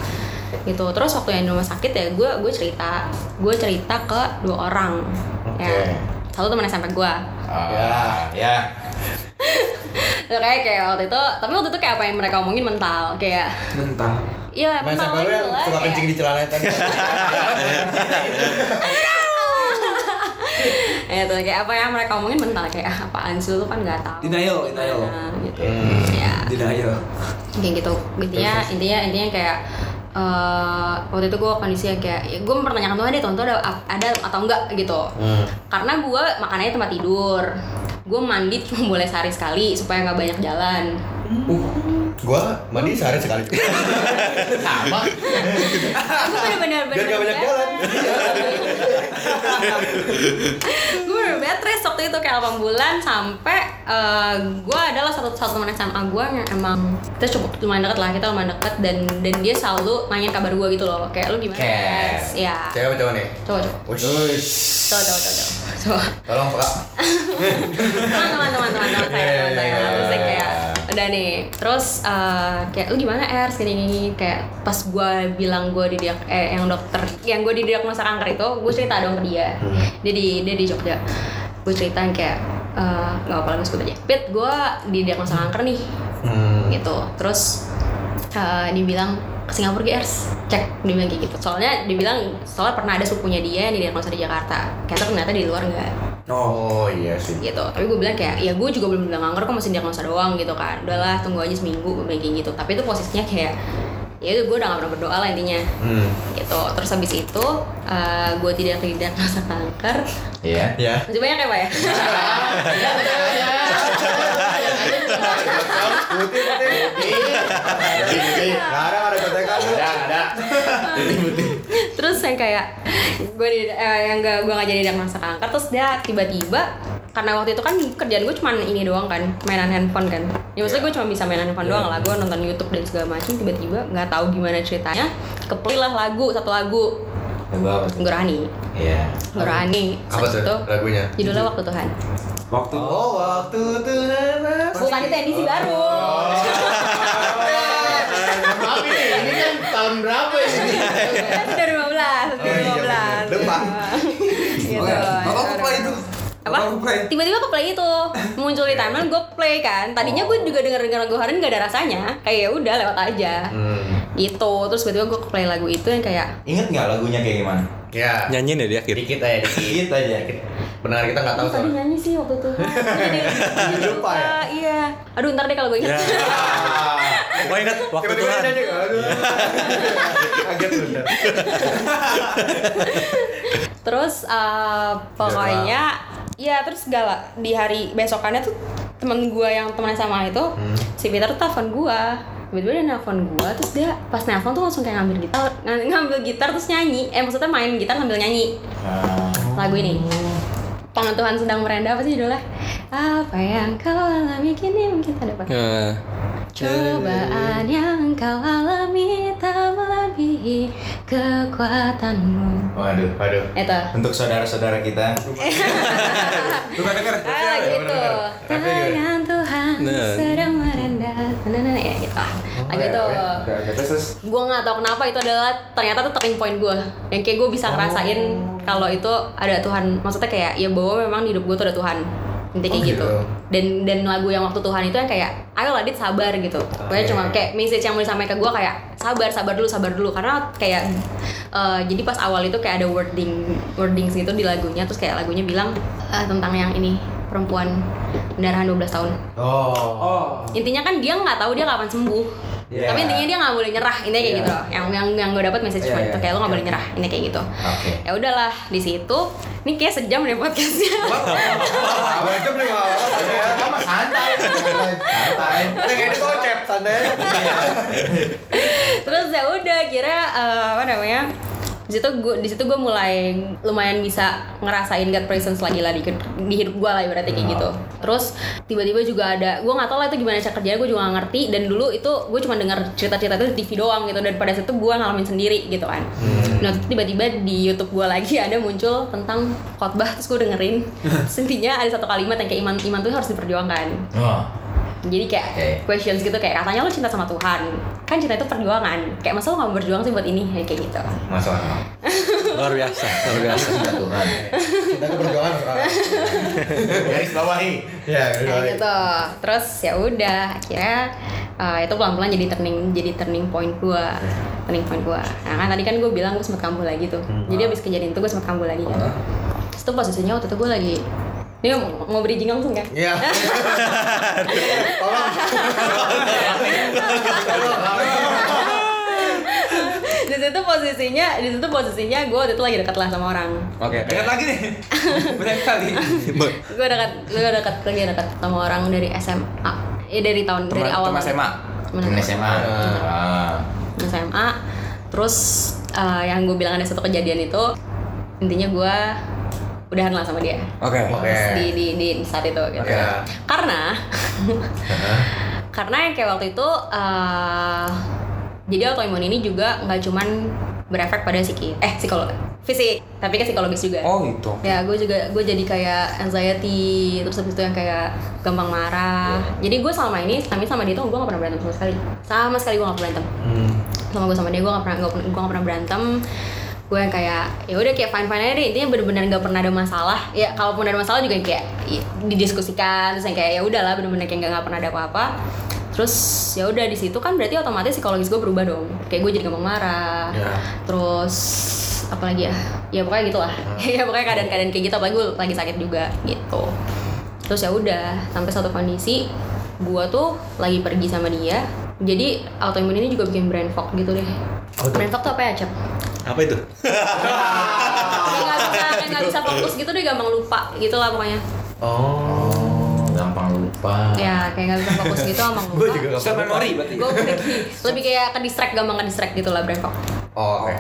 [SPEAKER 4] gitu terus waktu yang di rumah sakit ya gue gue cerita gue cerita ke dua orang ya
[SPEAKER 2] Oke.
[SPEAKER 4] satu teman SMP gue
[SPEAKER 2] Ah, ya.
[SPEAKER 4] Terus kayak kayak waktu itu, tapi waktu itu kayak apa yang mereka omongin mental, kayak
[SPEAKER 6] mentah
[SPEAKER 4] iya
[SPEAKER 1] Main
[SPEAKER 4] mental
[SPEAKER 1] sampai lu yang
[SPEAKER 4] gitu lah,
[SPEAKER 1] ya, suka
[SPEAKER 4] kayak-
[SPEAKER 1] kencing di celana tadi.
[SPEAKER 4] Ya, itu kayak apa yang mereka omongin mental kayak "Ah, apaan sih lu kan nggak tahu.
[SPEAKER 6] Denial, denial.
[SPEAKER 4] Nah, gitu.
[SPEAKER 1] Hmm.
[SPEAKER 4] Ya,
[SPEAKER 6] denial
[SPEAKER 4] kayak gitu. Intinya intinya intinya kayak eh, waktu itu gue kondisinya kayak ya gue mempertanyakan Tuhan deh Tuhan tuh ada ada atau enggak gitu
[SPEAKER 1] Hmm.
[SPEAKER 4] karena gue makanannya tempat tidur gue mandi cuma boleh sehari sekali supaya nggak banyak jalan
[SPEAKER 6] uh
[SPEAKER 1] Gua mandi sehari sekali. Sama.
[SPEAKER 4] Aku bener-bener
[SPEAKER 1] Biar gak banyak jalan.
[SPEAKER 4] gue bener bed rest waktu itu kayak 8 bulan sampai eh, gue adalah satu satu teman SMA gue yang emang kita cukup lumayan deket lah kita lumayan deket dan dan dia selalu nanyain kabar gue gitu loh kayak lu gimana
[SPEAKER 2] Kayak-
[SPEAKER 4] guys ya
[SPEAKER 1] Cewek cowok nih.
[SPEAKER 4] coba coba
[SPEAKER 1] Wush.
[SPEAKER 4] coba coba coba coba
[SPEAKER 1] Tolong Pak.
[SPEAKER 4] teman teman teman teman saya teman saya terus saya kayak udah nih terus eh, kayak lu gimana er gini gini kayak pas gue bilang gue di eh yang dokter yang gue didiagnosa kanker itu gue cerita dong ke dia dia di dia di Jogja gue cerita yang kayak eh, nggak apa-apa gue sebut aja pit gue didiagnosa kanker nih gitu terus eh, dibilang ke Singapura GRS cek dia bilang kayak gitu soalnya dibilang soalnya pernah ada sukunya dia yang didiagnosa di Jakarta Kayak ternyata di luar nggak
[SPEAKER 1] Oh iya sih.
[SPEAKER 4] gitu tapi gue bilang kayak ya gue juga belum bilang kanker kok masih diagnosa doang gitu kan udahlah tunggu aja seminggu gue bilang kayak gitu tapi itu posisinya kayak ya itu gue udah gak pernah berdoa lah intinya
[SPEAKER 1] Hmm.
[SPEAKER 4] gitu terus habis itu eh, gue tidak diagnosa kanker
[SPEAKER 2] Iya.
[SPEAKER 1] Ya.
[SPEAKER 4] masih banyak ya pak ya Iya,
[SPEAKER 1] Putih putih. Ngarang ada kata kamu.
[SPEAKER 2] Ada, ada.
[SPEAKER 4] terus yang kayak gue di, eh, yang gak gue gak jadi diagnosa kanker terus dia tiba-tiba karena waktu itu kan kerjaan gue cuman ini doang kan mainan handphone kan ya maksudnya
[SPEAKER 1] Iya.
[SPEAKER 4] gue cuma bisa mainan handphone doang lah gue nonton YouTube dan segala macam tiba-tiba nggak tahu gimana ceritanya kepilih lah lagu satu lagu Nurani
[SPEAKER 2] Iya.
[SPEAKER 4] Nurani
[SPEAKER 1] Apa tuh lagunya?
[SPEAKER 4] judulnya waktu Tuhan
[SPEAKER 6] Waktu
[SPEAKER 1] Oh waktu Tuhan.
[SPEAKER 4] bukan itu
[SPEAKER 1] Oh.
[SPEAKER 4] edisi baru
[SPEAKER 1] iya, Maaf ini, ini kan tahun berapa ini?
[SPEAKER 4] Udah 15
[SPEAKER 1] iya. Oh, iya, bener.
[SPEAKER 4] 15
[SPEAKER 1] Depan.
[SPEAKER 4] gitu
[SPEAKER 6] Bapak aku play itu.
[SPEAKER 4] apa?
[SPEAKER 6] Bapak aku play.
[SPEAKER 4] Tiba-tiba ke play itu muncul di timeline gue play kan. Tadinya gue juga denger denger lagu Harin gak ada rasanya. Kayak ya udah lewat aja.
[SPEAKER 1] Hmm.
[SPEAKER 4] Gitu. Terus tiba-tiba gue ke play lagu itu yang kayak
[SPEAKER 2] Ingat nggak lagunya kayak gimana?
[SPEAKER 1] Ya.
[SPEAKER 5] Nyanyiin ya di akhir.
[SPEAKER 2] Dikit aja, dikit aja.
[SPEAKER 1] Benar kita nggak tahu
[SPEAKER 4] Aku tadi
[SPEAKER 1] soalnya.
[SPEAKER 4] nyanyi sih waktu itu. Jadi jadi
[SPEAKER 1] Lupa
[SPEAKER 4] lupa.
[SPEAKER 1] ya?
[SPEAKER 4] Iya. Aduh ntar deh kalau gue
[SPEAKER 5] Ya.
[SPEAKER 4] ingat.
[SPEAKER 1] Ah.
[SPEAKER 5] Pokoknya ingat waktu
[SPEAKER 1] Tiba-tiba
[SPEAKER 5] Tuhan.
[SPEAKER 4] gitu.
[SPEAKER 1] nyanyi, aduh. Iya. Kaget bener.
[SPEAKER 4] Terus eh, pokoknya ya terus gala di hari besokannya tuh temen gue yang temen sama itu si Peter tuh telepon gue tiba-tiba dia nelfon gue terus dia pas nelfon tuh langsung kayak ngambil gitar ng- ngambil gitar terus nyanyi eh maksudnya main gitar ngambil nyanyi
[SPEAKER 2] Ah,
[SPEAKER 4] lagu ini tangan Tuhan sedang merendah apa sih judulnya apa yang kau alami kini mungkin tak dapat
[SPEAKER 5] Eh,
[SPEAKER 4] Cobaan yang kau alami tak melebihi kekuatanmu
[SPEAKER 2] Waduh.
[SPEAKER 1] Aduh.
[SPEAKER 4] Itu
[SPEAKER 2] Untuk saudara-saudara kita.
[SPEAKER 6] Bukan denger.
[SPEAKER 1] Iya,
[SPEAKER 4] Ah, gitu.
[SPEAKER 1] Rapnya gimana?
[SPEAKER 4] Tangan Tuhan
[SPEAKER 5] Nah.
[SPEAKER 4] sedang merendah. Nah, nah, nah, ya gitu. Lagi itu. Gue nggak tahu kenapa itu adalah ternyata tuh turning point gue. Yang kayak gue bisa ngerasain kalau itu ada Tuhan. Maksudnya kayak ya bahwa memang di hidup gue tuh ada Tuhan. Intinya kayak
[SPEAKER 1] Oh,
[SPEAKER 4] gitu.
[SPEAKER 1] gitu.
[SPEAKER 4] Dan dan lagu yang waktu Tuhan itu yang kayak ayo Dit sabar gitu. Pokoknya cuma kayak message yang mau disampaikan ke gue kayak sabar sabar dulu sabar dulu karena kayak eh, jadi pas awal itu kayak ada wording wordings gitu di lagunya terus kayak lagunya bilang eh, tentang yang ini perempuan pendarahan 12 tahun.
[SPEAKER 1] Oh.
[SPEAKER 6] Oh.
[SPEAKER 4] Intinya kan dia nggak tahu dia kapan sembuh.
[SPEAKER 6] Iya.
[SPEAKER 4] Tapi intinya dia nggak boleh nyerah, intinya kayak gitu. Yang yang yang gue dapat message
[SPEAKER 6] Iya,
[SPEAKER 4] cuma
[SPEAKER 6] iya.
[SPEAKER 4] itu kayak lo nggak boleh nyerah, ini kayak gitu.
[SPEAKER 2] Oke.
[SPEAKER 4] Ya udahlah di situ. Ini kayak sejam deh podcastnya.
[SPEAKER 1] Abang itu beli apa? Kamu santai. Santai. Ini kayaknya kocep santai.
[SPEAKER 4] Terus ya udah kira eh, apa namanya? Di situ gue di situ gue mulai lumayan bisa ngerasain God presence lagi lah di, di hidup gue lah ibaratnya kayak gitu. Terus tiba-tiba juga ada gue nggak tahu lah itu gimana cara kerjanya gue juga nggak ngerti dan dulu itu gue cuma dengar cerita-cerita itu di TV doang gitu dan pada situ gue ngalamin sendiri gitu kan. Nah terus tiba-tiba di YouTube gue lagi ada muncul tentang khotbah terus gue dengerin. Terus intinya ada satu kalimat yang kayak iman iman tuh harus diperjuangkan
[SPEAKER 2] Oh.
[SPEAKER 4] jadi kayak
[SPEAKER 2] Oke.
[SPEAKER 4] questions gitu kayak katanya lo cinta sama Tuhan kan cinta itu perjuangan kayak masa lo gak mau berjuang sih buat ini Ya, kayak gitu
[SPEAKER 2] Masuk akal.
[SPEAKER 5] luar biasa, luar biasa.
[SPEAKER 2] Cinta Tuhan.
[SPEAKER 1] Kita keberjuangan sekarang.
[SPEAKER 2] Garis bawahi.
[SPEAKER 1] Ya,
[SPEAKER 4] kayak gitu terus ya udah akhirnya eh, itu pelan-pelan jadi turning jadi turning point gua turning point gua nah kan tadi kan gue bilang gue sempet kambuh lagi tuh
[SPEAKER 6] Hmm.
[SPEAKER 4] jadi abis kejadian itu gue sempet kambuh lagi kan terus itu posisinya waktu itu gue lagi ini mau, mau bridging langsung kan
[SPEAKER 1] Iya. Tolong.
[SPEAKER 4] di situ posisinya di situ posisinya gue waktu itu lagi dekat lah sama orang
[SPEAKER 6] Oke, ingat lagi nih. Berapa kali?
[SPEAKER 5] Be-
[SPEAKER 4] gue dekat gue dekat lagi dekat sama orang dari SMA ya dari tahun dari
[SPEAKER 6] Teman-
[SPEAKER 4] awal
[SPEAKER 6] teman SMA?
[SPEAKER 2] Temen
[SPEAKER 4] Temen
[SPEAKER 2] SMA. Ah.
[SPEAKER 4] SMA terus eh, yang gue bilang ada satu kejadian itu intinya gue udahan lah sama dia
[SPEAKER 6] Oke.
[SPEAKER 1] Oke.
[SPEAKER 4] di, di, di saat itu gitu
[SPEAKER 1] Oke. Uh-huh.
[SPEAKER 4] karena karena yang kayak waktu itu eh, jadi autoimun ini juga nggak cuman berefek pada psiki eh psikolo fisik tapi ke psikologis juga
[SPEAKER 6] Oh gitu.
[SPEAKER 4] ya gue juga gue jadi kayak anxiety terus habis itu yang kayak gampang marah
[SPEAKER 1] Iya.
[SPEAKER 4] jadi gue selama ini tapi sama dia tuh gue gak pernah berantem sama sekali sama sekali gue gak berantem
[SPEAKER 6] Hmm.
[SPEAKER 4] sama gue sama dia gue gak pernah gue, gak pernah berantem gue yang kayak ya udah kayak fine fine aja deh intinya bener-bener gak pernah ada masalah ya kalaupun ada masalah juga yang kayak i- didiskusikan terus yang kayak ya udahlah bener-bener kayak gak, gak pernah ada apa-apa terus ya udah di situ kan berarti otomatis psikologis gue berubah dong kayak gue jadi gampang marah
[SPEAKER 1] Ya.
[SPEAKER 4] terus apalagi ya ya pokoknya gitulah ya pokoknya keadaan-keadaan kayak gitu apalagi gue lagi sakit juga gitu terus ya udah sampai satu kondisi gue tuh lagi pergi sama dia jadi autoimun ini juga bikin brain fog gitu deh brain fog tuh apa ya cep
[SPEAKER 5] Apa itu?
[SPEAKER 4] Kayak nggak bisa kayak nggak bisa fokus gitu deh gampang lupa gitu lah pokoknya
[SPEAKER 1] Oh.
[SPEAKER 2] Oh, gampang lupa.
[SPEAKER 4] ya kayak nggak bisa fokus gitu sama lupa
[SPEAKER 1] Gue juga gak
[SPEAKER 6] Short memory berarti. ya?
[SPEAKER 4] gue lebih kayak ke distract gampang ke distract gitu lah brain fog
[SPEAKER 1] Oh, oke.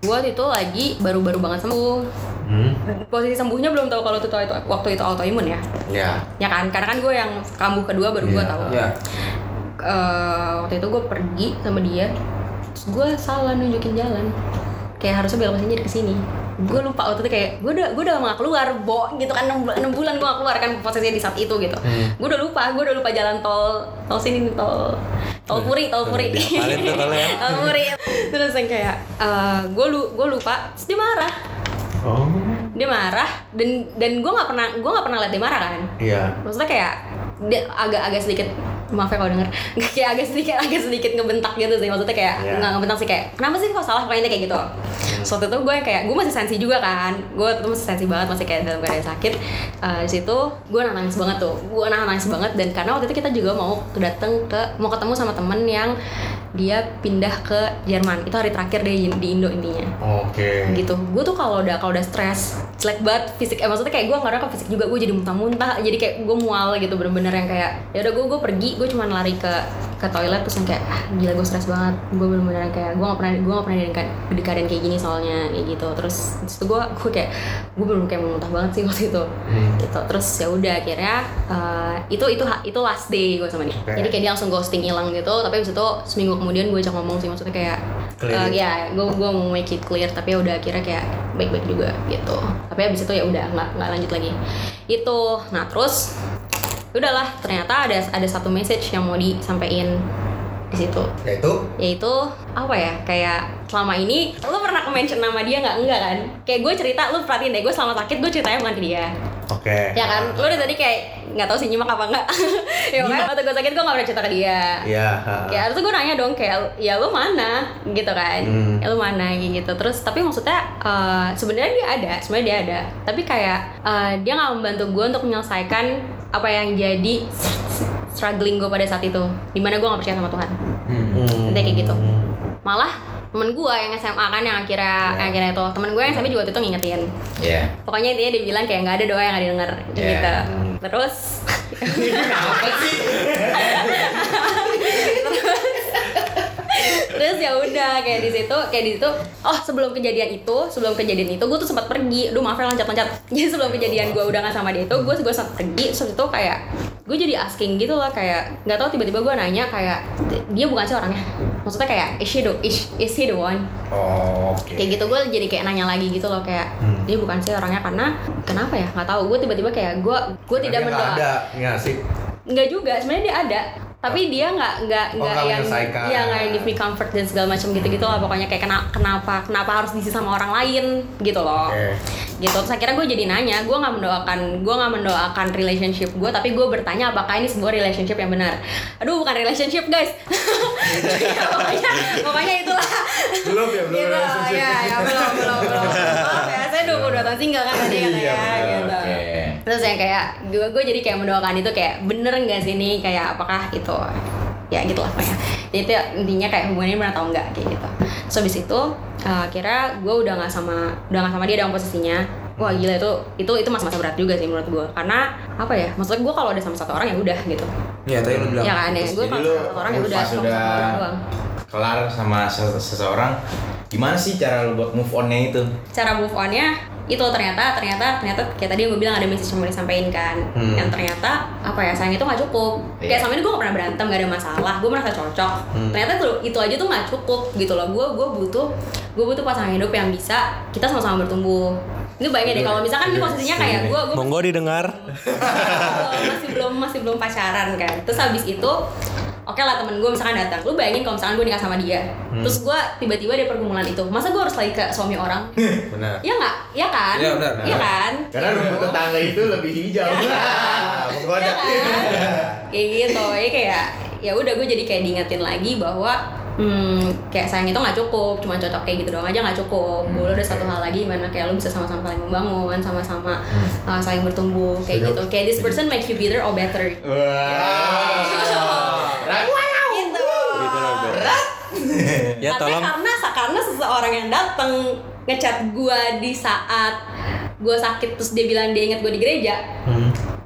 [SPEAKER 4] gue waktu itu lagi baru-baru banget sembuh
[SPEAKER 1] Hmm.
[SPEAKER 4] posisi sembuhnya belum tahu kalau itu itu waktu itu autoimun ya
[SPEAKER 1] Ya.
[SPEAKER 4] ya kan karena kan gue yang kambuh kedua baru gue
[SPEAKER 1] Iya.
[SPEAKER 4] tahu
[SPEAKER 6] Ya.
[SPEAKER 4] Eh, waktu itu gue pergi sama dia terus gue salah nunjukin jalan kayak harusnya belok sini jadi kesini gue lupa waktu itu kayak gue udah gue udah lama nggak keluar bo gitu kan 6, bulan gue gak keluar kan posisinya di saat itu gitu
[SPEAKER 5] Hmm.
[SPEAKER 4] gue udah lupa gue udah lupa jalan tol tol sini nih, tol tol puri tol puri
[SPEAKER 5] Dihafalin Iya. tuh tolnya ya.
[SPEAKER 4] tol puri terus yang kayak eh, gue lu gue lupa terus dia marah
[SPEAKER 1] Oh.
[SPEAKER 4] dia marah dan dan gue nggak pernah gue nggak pernah liat dia marah kan
[SPEAKER 1] Iya.
[SPEAKER 4] maksudnya kayak dia agak-agak sedikit maaf ya kalau denger kayak agak sedikit agak sedikit ngebentak gitu sih maksudnya kayak
[SPEAKER 1] Iya.
[SPEAKER 4] nggak ngebentak sih kayak kenapa sih kok salah pokoknya kayak gitu suatu itu gue kayak gue masih sensi juga kan gue tuh masih sensi banget masih kayak dalam keadaan sakit Eh, di situ gue nahan nangis banget tuh gue nahan nangis banget dan karena waktu itu kita juga mau datang ke mau ketemu sama temen yang dia pindah ke Jerman itu hari terakhir di, di Indo intinya
[SPEAKER 1] Oke.
[SPEAKER 4] gitu gue tuh kalau udah kalau udah stres jelek banget fisik eh maksudnya kayak gue nggak ke fisik juga gue jadi muntah-muntah jadi kayak gue mual gitu bener-bener yang kayak ya udah gue gue pergi gue cuma lari ke ke toilet terus yang kayak ah, gila gue stres banget gue bener-bener yang kayak gue nggak pernah gue nggak pernah di, keadaan- di keadaan kayak gini soalnya kayak gitu terus di situ gue gue kayak gue belum kayak muntah banget sih waktu itu
[SPEAKER 1] Hmm.
[SPEAKER 4] gitu terus ya udah akhirnya eh, itu itu itu last day gue sama dia
[SPEAKER 1] Oke.
[SPEAKER 4] jadi kayak dia langsung ghosting hilang gitu tapi abis itu seminggu kemudian gue ajak ngomong sih maksudnya kayak
[SPEAKER 1] Clear
[SPEAKER 4] eh,
[SPEAKER 1] it.
[SPEAKER 4] ya gue gue mau make it clear tapi ya udah akhirnya kayak baik-baik juga gitu tapi abis itu ya udah nggak nggak lanjut lagi itu nah terus udahlah ternyata ada ada satu message yang mau disampaikan di situ
[SPEAKER 1] Yaitu
[SPEAKER 4] yaitu apa ya kayak selama ini lu pernah ke mention nama dia nggak enggak kan kayak gue cerita lu perhatiin deh gue selama sakit gue ceritanya bukan ke dia
[SPEAKER 1] oke.
[SPEAKER 4] ya kan lu dari tadi kayak nggak tahu sih nyimak apa enggak ya kan waktu gue sakit gue nggak pernah cerita ke dia
[SPEAKER 1] Iya. ha.
[SPEAKER 4] Ya harusnya gue nanya dong kayak ya lu mana gitu kan,
[SPEAKER 1] Hmm.
[SPEAKER 4] ya lu mana kayak gitu. Terus tapi maksudnya eh, sebenarnya dia ada, sebenarnya dia ada. Tapi kayak eh, dia nggak membantu gue untuk menyelesaikan apa yang jadi struggling gue pada saat itu. Dimana gue nggak percaya sama Tuhan.
[SPEAKER 1] Hmm.
[SPEAKER 4] Intinya kayak gitu. Malah temen gue yang SMA kan yang
[SPEAKER 1] Iya.
[SPEAKER 4] akhirnya yang akhirnya itu temen gue yang SMA juga waktu itu ngingetin
[SPEAKER 2] Iya.
[SPEAKER 4] pokoknya intinya dia bilang kayak nggak ada doa yang nggak didengar
[SPEAKER 2] Yeah.
[SPEAKER 4] gitu terus terus ya udah kayak di situ kayak di situ oh sebelum kejadian itu sebelum kejadian itu gue tuh sempat pergi duh maaf ya loncat-loncat jadi sebelum kejadian gue udah gak sama dia itu gue gue sempat pergi terus itu kayak gue jadi asking gitu lah kayak nggak tahu tiba-tiba gue nanya kayak dia bukan sih orangnya maksudnya kayak is she the is, is he the one
[SPEAKER 1] Oh, oke.
[SPEAKER 4] kayak gitu gue jadi kayak nanya lagi gitu loh kayak
[SPEAKER 1] Hmm.
[SPEAKER 4] dia bukan sih orangnya karena kenapa ya nggak tahu gue tiba-tiba kayak gue gue tidak
[SPEAKER 1] Tapi nggak
[SPEAKER 4] mendoa
[SPEAKER 1] Ada, ya sih.
[SPEAKER 4] nggak juga sebenarnya dia ada tapi dia nggak nggak
[SPEAKER 1] Oh,
[SPEAKER 4] nggak
[SPEAKER 1] nggak
[SPEAKER 4] yang
[SPEAKER 1] menyelesaikan. Hmm.
[SPEAKER 4] ya nggak yang give me comfort dan segala macam gitu gitu lah pokoknya kayak kena- kenapa kenapa harus diisi sama orang lain gitu loh
[SPEAKER 1] Oke.
[SPEAKER 4] gitu terus akhirnya gue jadi nanya gue nggak mendoakan gue nggak mendoakan relationship gue tapi gue bertanya apakah ini sebuah relationship yang benar aduh bukan relationship guys Ya, pokoknya pokoknya itulah
[SPEAKER 1] Belum ya, belum.
[SPEAKER 4] gitu ya ya belum belum belum Maaf ya, saya 22 tahun single kan tadi kan ya gitu
[SPEAKER 2] Iya, Oke.
[SPEAKER 4] terus yang kayak gue gue jadi kayak mendoakan itu kayak bener nggak sih ini kayak apakah itu ya gitu lah pokoknya jadi itu intinya kayak hubungannya benar atau enggak kayak gitu so abis itu eh, akhirnya gue udah nggak sama udah nggak sama dia dalam posisinya wah gila itu itu itu masa-masa berat juga sih menurut gue karena apa ya maksudnya gue kalau udah sama satu orang ya udah gitu
[SPEAKER 6] Iya, tadi lu bilang.
[SPEAKER 4] ya kan ya gue
[SPEAKER 2] Jadi
[SPEAKER 4] kalau
[SPEAKER 2] lu-
[SPEAKER 4] sama orang
[SPEAKER 2] lu
[SPEAKER 4] udah
[SPEAKER 2] pas
[SPEAKER 4] sama
[SPEAKER 2] udah
[SPEAKER 4] orang doang
[SPEAKER 2] kelar sama se- seseorang gimana sih cara lu buat move onnya itu
[SPEAKER 4] cara move onnya itu ternyata ternyata ternyata kayak tadi yang gue bilang ada message yang mau disampaikan kan yang ternyata apa ya sayang itu nggak cukup
[SPEAKER 2] Iya.
[SPEAKER 4] kayak sama ini gue gak pernah berantem gak ada masalah gue merasa cocok ternyata itu, itu aja tuh nggak cukup gitu loh gue gue butuh gue butuh pasangan hidup yang bisa kita sama-sama bertumbuh ini bayangin deh kalau misalkan ini posisinya kayak gue gue
[SPEAKER 5] Monggo didengar.
[SPEAKER 4] Eh, masih belum masih belum pacaran kan terus habis itu oke lah temen gue misalkan datang lu bayangin kalau misalkan gue nikah sama dia
[SPEAKER 6] Hmm.
[SPEAKER 4] terus gue tiba-tiba di pergumulan itu masa gue harus lagi ke suami orang
[SPEAKER 1] Benar.
[SPEAKER 4] Iya nggak? Iya kan?
[SPEAKER 6] Iya, benar.
[SPEAKER 4] Iya kan?
[SPEAKER 2] karena rumput tetangga itu lebih hijau
[SPEAKER 4] Iya kan? Kayak gitu, ya kayak ya udah gue jadi kayak diingetin lagi bahwa hmm, kayak sayang itu nggak cukup, cuma cocok kayak gitu doang aja nggak cukup.
[SPEAKER 6] Hmm.
[SPEAKER 4] Boleh ada satu hal lagi gimana kayak lu bisa sama-sama saling membangun, sama-sama
[SPEAKER 6] Hmm.
[SPEAKER 4] uh, saling bertumbuh kayak gitu. Kayak this person makes you better or better.
[SPEAKER 2] Ah.
[SPEAKER 4] Gitu.
[SPEAKER 5] Ya
[SPEAKER 4] Tapi
[SPEAKER 5] tolong
[SPEAKER 4] karena karena seseorang yang datang ngechat gua di saat gua sakit terus dia bilang dia ingat gua di gereja.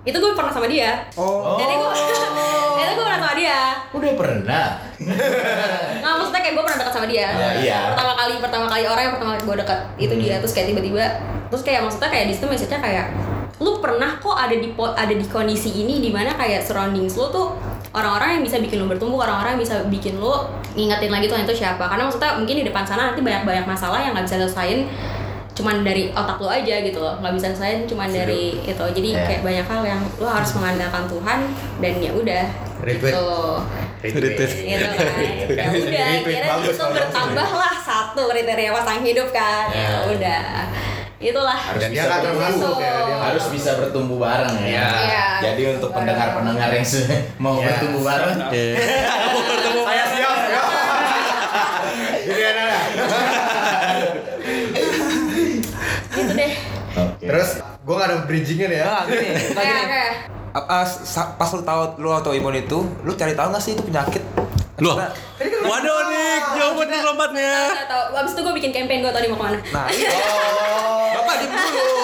[SPEAKER 4] Itu gue pernah sama dia.
[SPEAKER 2] oh
[SPEAKER 4] Jadi gue, jadi gue pernah sama dia.
[SPEAKER 2] udah pernah
[SPEAKER 4] Nggak Nah, maksudnya kayak gue pernah dekat sama dia.
[SPEAKER 2] Ah, iya. Hmm.
[SPEAKER 4] Pertama kali, pertama kali orang yang pertama kali gue dekat itu dia terus kayak tiba-tiba, terus kayak maksudnya kayak di situ message-nya kayak lu pernah kok ada di po- ada di kondisi ini di mana kayak surroundings lu tuh orang-orang yang bisa bikin lu bertumbuh, orang-orang yang bisa bikin lu ngingetin lagi Tuhan itu siapa. Karena maksudnya mungkin di depan sana nanti banyak-banyak masalah yang nggak bisa diselesain cuman dari otak lu aja gitu loh nggak bisa selain cuman dari itu jadi
[SPEAKER 2] Iya.
[SPEAKER 4] kayak banyak hal yang lu harus mengandalkan Tuhan dan ya udah
[SPEAKER 1] Retweet.
[SPEAKER 4] gitu gitu
[SPEAKER 5] Retweet.
[SPEAKER 4] kan ya
[SPEAKER 1] Iya,
[SPEAKER 4] udah
[SPEAKER 1] Retweet,
[SPEAKER 4] akhirnya
[SPEAKER 1] iya, bagus,
[SPEAKER 4] itu
[SPEAKER 1] bagus. Iya.
[SPEAKER 4] bertambahlah satu kriteria pasang hidup kan ya udah itulah Gitu.
[SPEAKER 2] harus
[SPEAKER 1] Dan dia
[SPEAKER 2] bisa
[SPEAKER 1] nggak
[SPEAKER 2] bertumbuh
[SPEAKER 1] termasuk ya. Dia nggak-
[SPEAKER 2] harus bisa bertumbuh bareng ya
[SPEAKER 4] Iya.
[SPEAKER 2] jadi untuk pendengar-pendengar yang se- mau
[SPEAKER 1] Iya.
[SPEAKER 2] bertumbuh bareng
[SPEAKER 5] Ya.
[SPEAKER 1] Saya siap. ya. Jadi enak ya.
[SPEAKER 4] gitu deh
[SPEAKER 1] Terus gue gak ada bridgingnya nih ya.
[SPEAKER 6] Ah, gini. Nah,
[SPEAKER 4] kayak
[SPEAKER 6] gini.
[SPEAKER 4] kayak
[SPEAKER 6] Apa sa- pas lu tahu lu autoimun itu, lu cari tahu nggak sih itu penyakit?
[SPEAKER 5] Loh.
[SPEAKER 6] Nah,
[SPEAKER 4] kan-
[SPEAKER 5] Waduh nih, jawaban diplomatnya.
[SPEAKER 4] nggak tahu abis itu gue bikin campaign gue tau dia mau kemana
[SPEAKER 6] Nah, iya. Bapak diem dulu.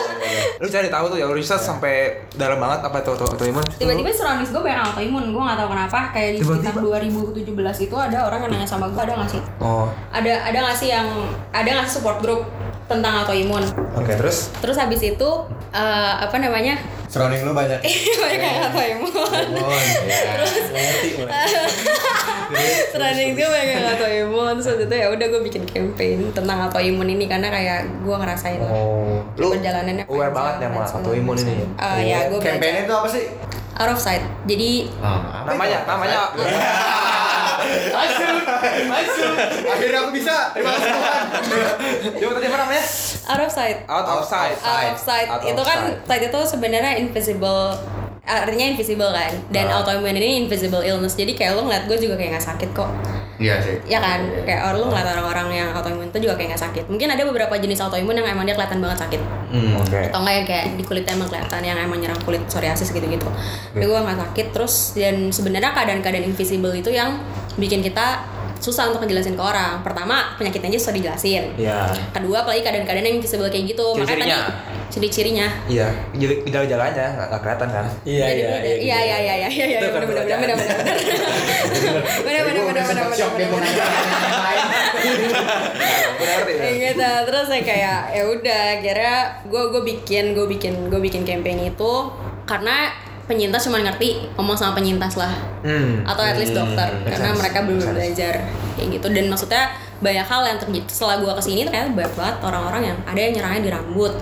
[SPEAKER 6] Lu cari tahu tuh ya, lu riset sampai dalam banget apa itu auto- autoimun.
[SPEAKER 4] tiba-tiba surroundings gue banyak autoimun gue nggak tahu kenapa kayak di sekitar 2017 itu ada orang yang nanya sama gue ada nggak sih
[SPEAKER 6] Oh,
[SPEAKER 4] ada ada nggak sih yang ada nggak sih support group tentang autoimun
[SPEAKER 6] oke terus
[SPEAKER 4] terus habis itu eh, apa namanya
[SPEAKER 1] Surrounding lu banyak.
[SPEAKER 4] Eh,
[SPEAKER 6] Iya,
[SPEAKER 4] banyak yang autoimun
[SPEAKER 1] Oh,
[SPEAKER 6] ya.
[SPEAKER 4] Training gue pengen autoimun Terus waktu itu ya udah gue bikin campaign tentang autoimun ini Karena kayak gue ngerasain lah
[SPEAKER 6] Oh. lu
[SPEAKER 4] Perjalanannya panjang,
[SPEAKER 6] aware banget ya sama
[SPEAKER 4] macam-
[SPEAKER 6] autoimun ini. ya?
[SPEAKER 4] Eh, Ya gue
[SPEAKER 1] Campaign itu apa sih?
[SPEAKER 4] Out of sight Jadi
[SPEAKER 1] Ah, apa
[SPEAKER 6] Namanya,
[SPEAKER 1] itu?
[SPEAKER 6] namanya.
[SPEAKER 1] Akhirnya aku bisa. Terima kasih Tuhan.
[SPEAKER 6] Coba tadi apa namanya?
[SPEAKER 4] out of sight
[SPEAKER 6] Out of sight.
[SPEAKER 4] Out of sight
[SPEAKER 6] Out of
[SPEAKER 4] Itu kan
[SPEAKER 6] sight.
[SPEAKER 4] sight itu sebenarnya invisible Artinya invisible kan Dan
[SPEAKER 6] Nah.
[SPEAKER 4] autoimun ini invisible illness Jadi kayak lo ngeliat gue juga kayak gak sakit kok
[SPEAKER 1] Iya sih.
[SPEAKER 4] Ya kan Kayak orang lo ngeliat orang-orang yang autoimun itu juga kayak gak sakit Mungkin ada beberapa jenis autoimun yang emang dia kelihatan banget sakit
[SPEAKER 5] Hmm,
[SPEAKER 6] Oke.
[SPEAKER 4] atau enggak yang kayak di kulitnya emang kelihatan yang emang nyerang kulit psoriasis gitu-gitu. Tapi gue nggak sakit terus dan sebenarnya keadaan-keadaan invisible itu yang bikin kita susah untuk ngejelasin ke orang. Pertama penyakitnya aja susah dijelasin.
[SPEAKER 6] Ya.
[SPEAKER 4] Kedua apalagi keadaan-keadaan yang invisible kayak gitu.
[SPEAKER 6] Ciri-cirinya?
[SPEAKER 4] tadi ciri-cirinya.
[SPEAKER 6] Iya, jadi gejala-gejalanya nggak nggak kelihatan kan?
[SPEAKER 5] Iya
[SPEAKER 4] Jadi beda- Iya iya iya iya iya.
[SPEAKER 6] Itu
[SPEAKER 4] Benar
[SPEAKER 6] kan
[SPEAKER 4] benar benar benar
[SPEAKER 6] pertanyaan.
[SPEAKER 4] benar. Benar benar benar benar benar benar benar.
[SPEAKER 6] Berarti.
[SPEAKER 4] Kayak gitu terus saya kayak ya udah akhirnya gue gue bikin gue bikin gue bikin campaign itu karena penyintas cuma ngerti ngomong sama penyintas lah
[SPEAKER 6] Hmm.
[SPEAKER 4] atau at least dokter karena
[SPEAKER 6] sense.
[SPEAKER 4] mereka belum
[SPEAKER 6] Makes sense.
[SPEAKER 4] belajar kayak gitu dan maksudnya banyak hal yang terjadi setelah gue kesini ternyata banyak banget orang-orang yang ada yang nyerangnya di rambut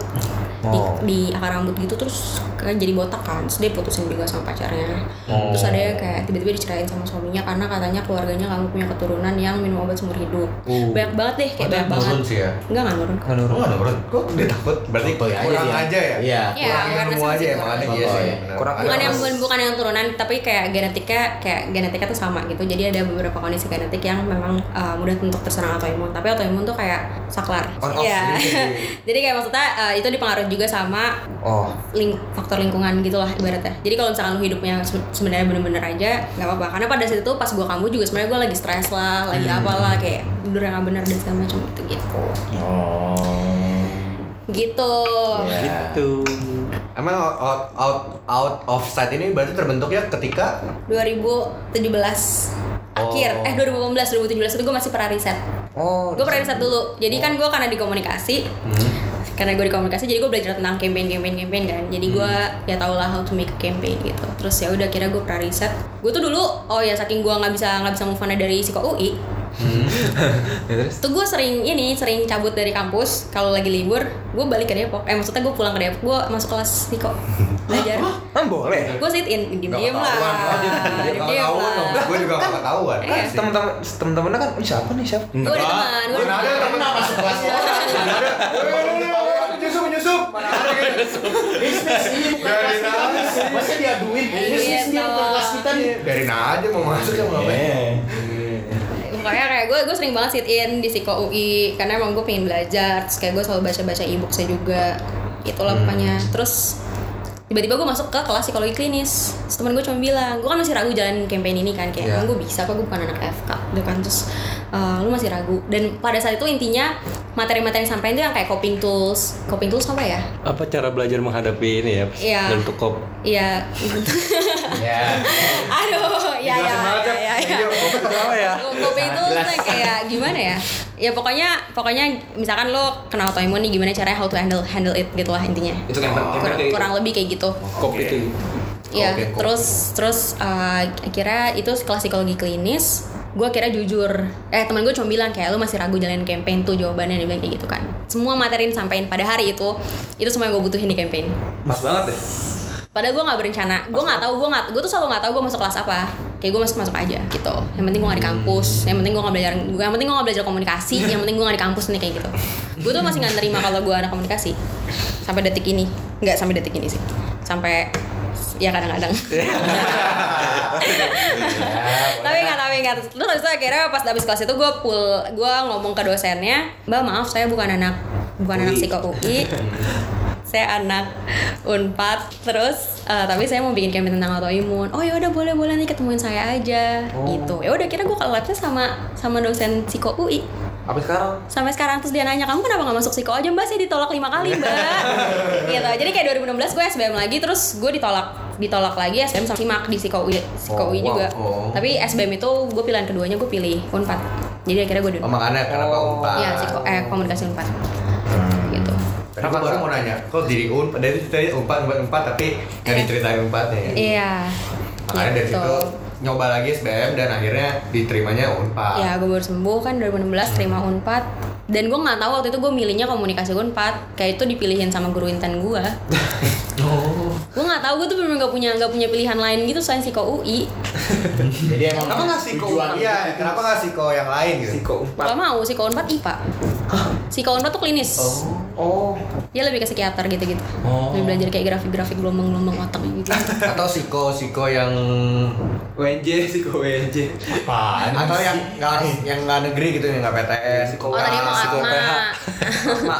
[SPEAKER 4] di,
[SPEAKER 6] Oh.
[SPEAKER 4] di akar rambut gitu terus kayak jadi botak kan terus dia putusin juga sama pacarnya
[SPEAKER 6] Oh.
[SPEAKER 4] terus ada yang kayak tiba-tiba dicerain sama suaminya karena katanya keluarganya kamu punya keturunan yang minum obat seumur hidup
[SPEAKER 6] Uh.
[SPEAKER 4] banyak banget deh kayak banyak banget
[SPEAKER 1] sih ya.
[SPEAKER 4] enggak nggak nurun
[SPEAKER 1] Oh, nggak ada berat. Kok dia takut? Berarti
[SPEAKER 2] Fotonya aja
[SPEAKER 1] kurang
[SPEAKER 2] dia.
[SPEAKER 1] aja ya?
[SPEAKER 2] Iya.
[SPEAKER 4] Iya,
[SPEAKER 1] Kurang
[SPEAKER 4] awareness
[SPEAKER 1] ilmu aja
[SPEAKER 4] masih
[SPEAKER 1] ya,
[SPEAKER 4] kurang.
[SPEAKER 1] makanya iya sih.
[SPEAKER 2] Iya.
[SPEAKER 1] benar.
[SPEAKER 6] Kurang
[SPEAKER 1] Ada
[SPEAKER 4] bukan yang
[SPEAKER 1] mas-
[SPEAKER 4] bukan, bukan yang turunan tapi kayak genetika kayak genetika tuh sama gitu jadi ada beberapa kondisi genetik yang memang uh, mudah untuk terserang autoimun tapi autoimun tuh kayak saklar
[SPEAKER 6] On off
[SPEAKER 4] Iya.
[SPEAKER 6] gitu.
[SPEAKER 4] jadi kayak maksudnya uh, itu dipengaruhi juga sama
[SPEAKER 6] Oh,
[SPEAKER 4] ling- faktor lingkungan gitu lah ibaratnya jadi kalau misalkan lu hidupnya se- sebenarnya bener-bener aja nggak apa-apa karena pada saat itu pas gua kamu juga sebenarnya gua lagi stres lah lagi apalah kayak tidur yang nggak bener dan segala macam gitu gitu
[SPEAKER 2] oh
[SPEAKER 4] gitu
[SPEAKER 1] Oh.
[SPEAKER 2] Iya.
[SPEAKER 5] Tuh.
[SPEAKER 1] Emang out, out, out, out of sight ini berarti terbentuknya ketika
[SPEAKER 4] 2017 akhir
[SPEAKER 1] Oh.
[SPEAKER 4] eh 2018 2017 itu gue masih pernah riset
[SPEAKER 6] Oh.
[SPEAKER 4] gue pernah riset dulu jadi kan gue karena di komunikasi karena gue di komunikasi jadi gue belajar tentang campaign campaign campaign kan jadi gue ya tau lah how to make a campaign gitu terus ya udah kira gue pernah riset gue tuh dulu oh ya saking gue nggak bisa nggak bisa move on dari psiko UI tuh gue sering ini sering cabut dari kampus kalau lagi libur gue balik ke Depok eh maksudnya gue pulang ke Depok gue masuk kelas psiko belajar
[SPEAKER 5] Kan boleh.
[SPEAKER 4] gue sit in diem
[SPEAKER 1] Nggak
[SPEAKER 4] diem lah
[SPEAKER 1] ketahuan, oh, dia- dia
[SPEAKER 4] diem
[SPEAKER 1] nggak
[SPEAKER 4] diem
[SPEAKER 1] ketahuan dong.
[SPEAKER 4] lah
[SPEAKER 1] Gue juga nggak ketahuan.
[SPEAKER 4] Iya. Hmm.
[SPEAKER 5] Kan teman-teman teman-temannya kan "Ini siapa nih siapa?
[SPEAKER 4] gue ada teman gue
[SPEAKER 1] Mana ada temen apa masuk kelas ya? Mana ada? Eh, ketahuan, Menyusup, menyusup. Mana ada kan? Bisnis ini bukan kelas kita. Masa diaduin? Bisnis ini bukan kelas kita nih. Biarin aja mau masuk ya mau ngapain?
[SPEAKER 2] Iya.
[SPEAKER 4] Pokoknya kayak gue gue sering banget sit in di Siko UI karena emang gue pengen belajar terus kayak gue selalu baca-baca e-booksnya juga itulah
[SPEAKER 1] Hmm.
[SPEAKER 4] pokoknya terus tiba-tiba gue masuk ke kelas psikologi klinis terus temen gue cuma bilang gue kan masih ragu jalan campaign ini kan kayak
[SPEAKER 6] Iya.
[SPEAKER 4] emang gue bisa kok gue bukan anak FK gitu kan terus "Eh, lu masih ragu dan pada saat itu intinya materi-materi yang sampai itu yang kayak coping tools coping tools apa ya
[SPEAKER 5] Apa cara belajar menghadapi ini ya?
[SPEAKER 4] Iya.
[SPEAKER 5] Bentuk kop.
[SPEAKER 4] Iya,
[SPEAKER 1] Ya.
[SPEAKER 4] aduh, ya, ya, ya, ya, ya.
[SPEAKER 1] Iya,
[SPEAKER 5] Apa ya?
[SPEAKER 4] Kopi itu tuh kayak gimana ya? Ya pokoknya pokoknya misalkan lo kena autoimun nih gimana caranya how to handle handle it gitu lah intinya.
[SPEAKER 6] Itu kan
[SPEAKER 4] Kurang, kurang lebih kayak gitu.
[SPEAKER 6] kopi itu.
[SPEAKER 4] Ya,
[SPEAKER 1] Oke, kopi.
[SPEAKER 4] terus terus eh, akhirnya itu kelas psikologi klinis gue kira jujur eh teman gue cuma bilang kayak lu masih ragu jalanin campaign tuh jawabannya dia bilang kayak gitu kan semua materi yang sampein pada hari itu itu semua yang gue butuhin di campaign
[SPEAKER 5] Mas banget deh.
[SPEAKER 4] Padahal gue nggak berencana, gue nggak tahu gue nggak, gue tuh selalu nggak tahu gue masuk kelas apa. Kayak gue masuk masuk aja gitu. Yang penting gue nggak di kampus, yang penting gue nggak belajar, yang penting gue nggak belajar komunikasi, yang penting gue nggak di kampus nih kayak gitu. Gue tuh masih nggak nerima kalau gue anak komunikasi sampai detik ini, nggak sampai detik ini sih, sampai ya kadang-kadang. tapi nggak tapi nggak. Terus habis itu akhirnya pas habis kelas itu gue pul, gue ngomong ke dosennya, mbak maaf saya bukan anak bukan anak psiko UI, saya anak unpad terus eh, tapi saya mau bikin campaign tentang autoimun oh ya udah boleh boleh nih ketemuin saya aja gitu ya udah kira gue kolabnya sama sama dosen psiko UI
[SPEAKER 6] Apa sekarang?
[SPEAKER 4] sampai sekarang terus dia nanya kamu kenapa nggak masuk psiko aja mbak saya ditolak lima kali mbak gitu jadi kayak 2016 gue SBM lagi terus gue ditolak ditolak lagi SBM sama simak di psiko UI,
[SPEAKER 1] Oh,
[SPEAKER 4] Psiko UI
[SPEAKER 1] wow.
[SPEAKER 4] juga
[SPEAKER 1] Oh.
[SPEAKER 4] tapi SBM itu gue pilihan keduanya gue pilih unpad jadi akhirnya gue di
[SPEAKER 1] Oh makanya kenapa umpan?
[SPEAKER 4] Iya, psiko eh komunikasi unpad
[SPEAKER 1] Hmm.
[SPEAKER 4] gitu
[SPEAKER 1] Tadi gua baru mau nanya, kok diri umpan? Dari ceritanya umpan, umpan, umpan, tapi nggak diceritain umpatnya ya?
[SPEAKER 4] iya
[SPEAKER 1] Makanya dari
[SPEAKER 4] Gitu.
[SPEAKER 1] situ nyoba lagi SBM dan akhirnya diterimanya unpad.
[SPEAKER 4] Ya,
[SPEAKER 5] Ah.
[SPEAKER 4] gue baru sembuh kan 2016 terima Unpad dan gue nggak tahu waktu itu gue milihnya komunikasi Unpad kayak itu dipilihin sama guru intan gue.
[SPEAKER 5] Oh.
[SPEAKER 4] Gue nggak tahu gue tuh bener nggak punya nggak punya pilihan lain gitu selain psiko UI.
[SPEAKER 2] Jadi emang
[SPEAKER 1] Kenapa nggak siko? Iya, kenapa nggak siko yang lain
[SPEAKER 6] Oh.
[SPEAKER 1] gitu?
[SPEAKER 5] Siko empat.
[SPEAKER 4] Gak mau psiko Unpad IPA. Psiko Unpad tuh klinis.
[SPEAKER 5] Oh.
[SPEAKER 4] Dia lebih ke psikiater gitu-gitu.
[SPEAKER 5] Oh.
[SPEAKER 4] Lebih belajar kayak grafik-grafik gelombang-gelombang otak gitu.
[SPEAKER 1] Atau siko siko yang
[SPEAKER 5] WNJ Siko WNJ.
[SPEAKER 1] apaan? Atau yang nggak harus- yang nggak negeri gitu yang nggak PTN? Siko
[SPEAKER 4] Oh, tadi mau Nah,
[SPEAKER 5] Psiko PH.
[SPEAKER 4] Atma.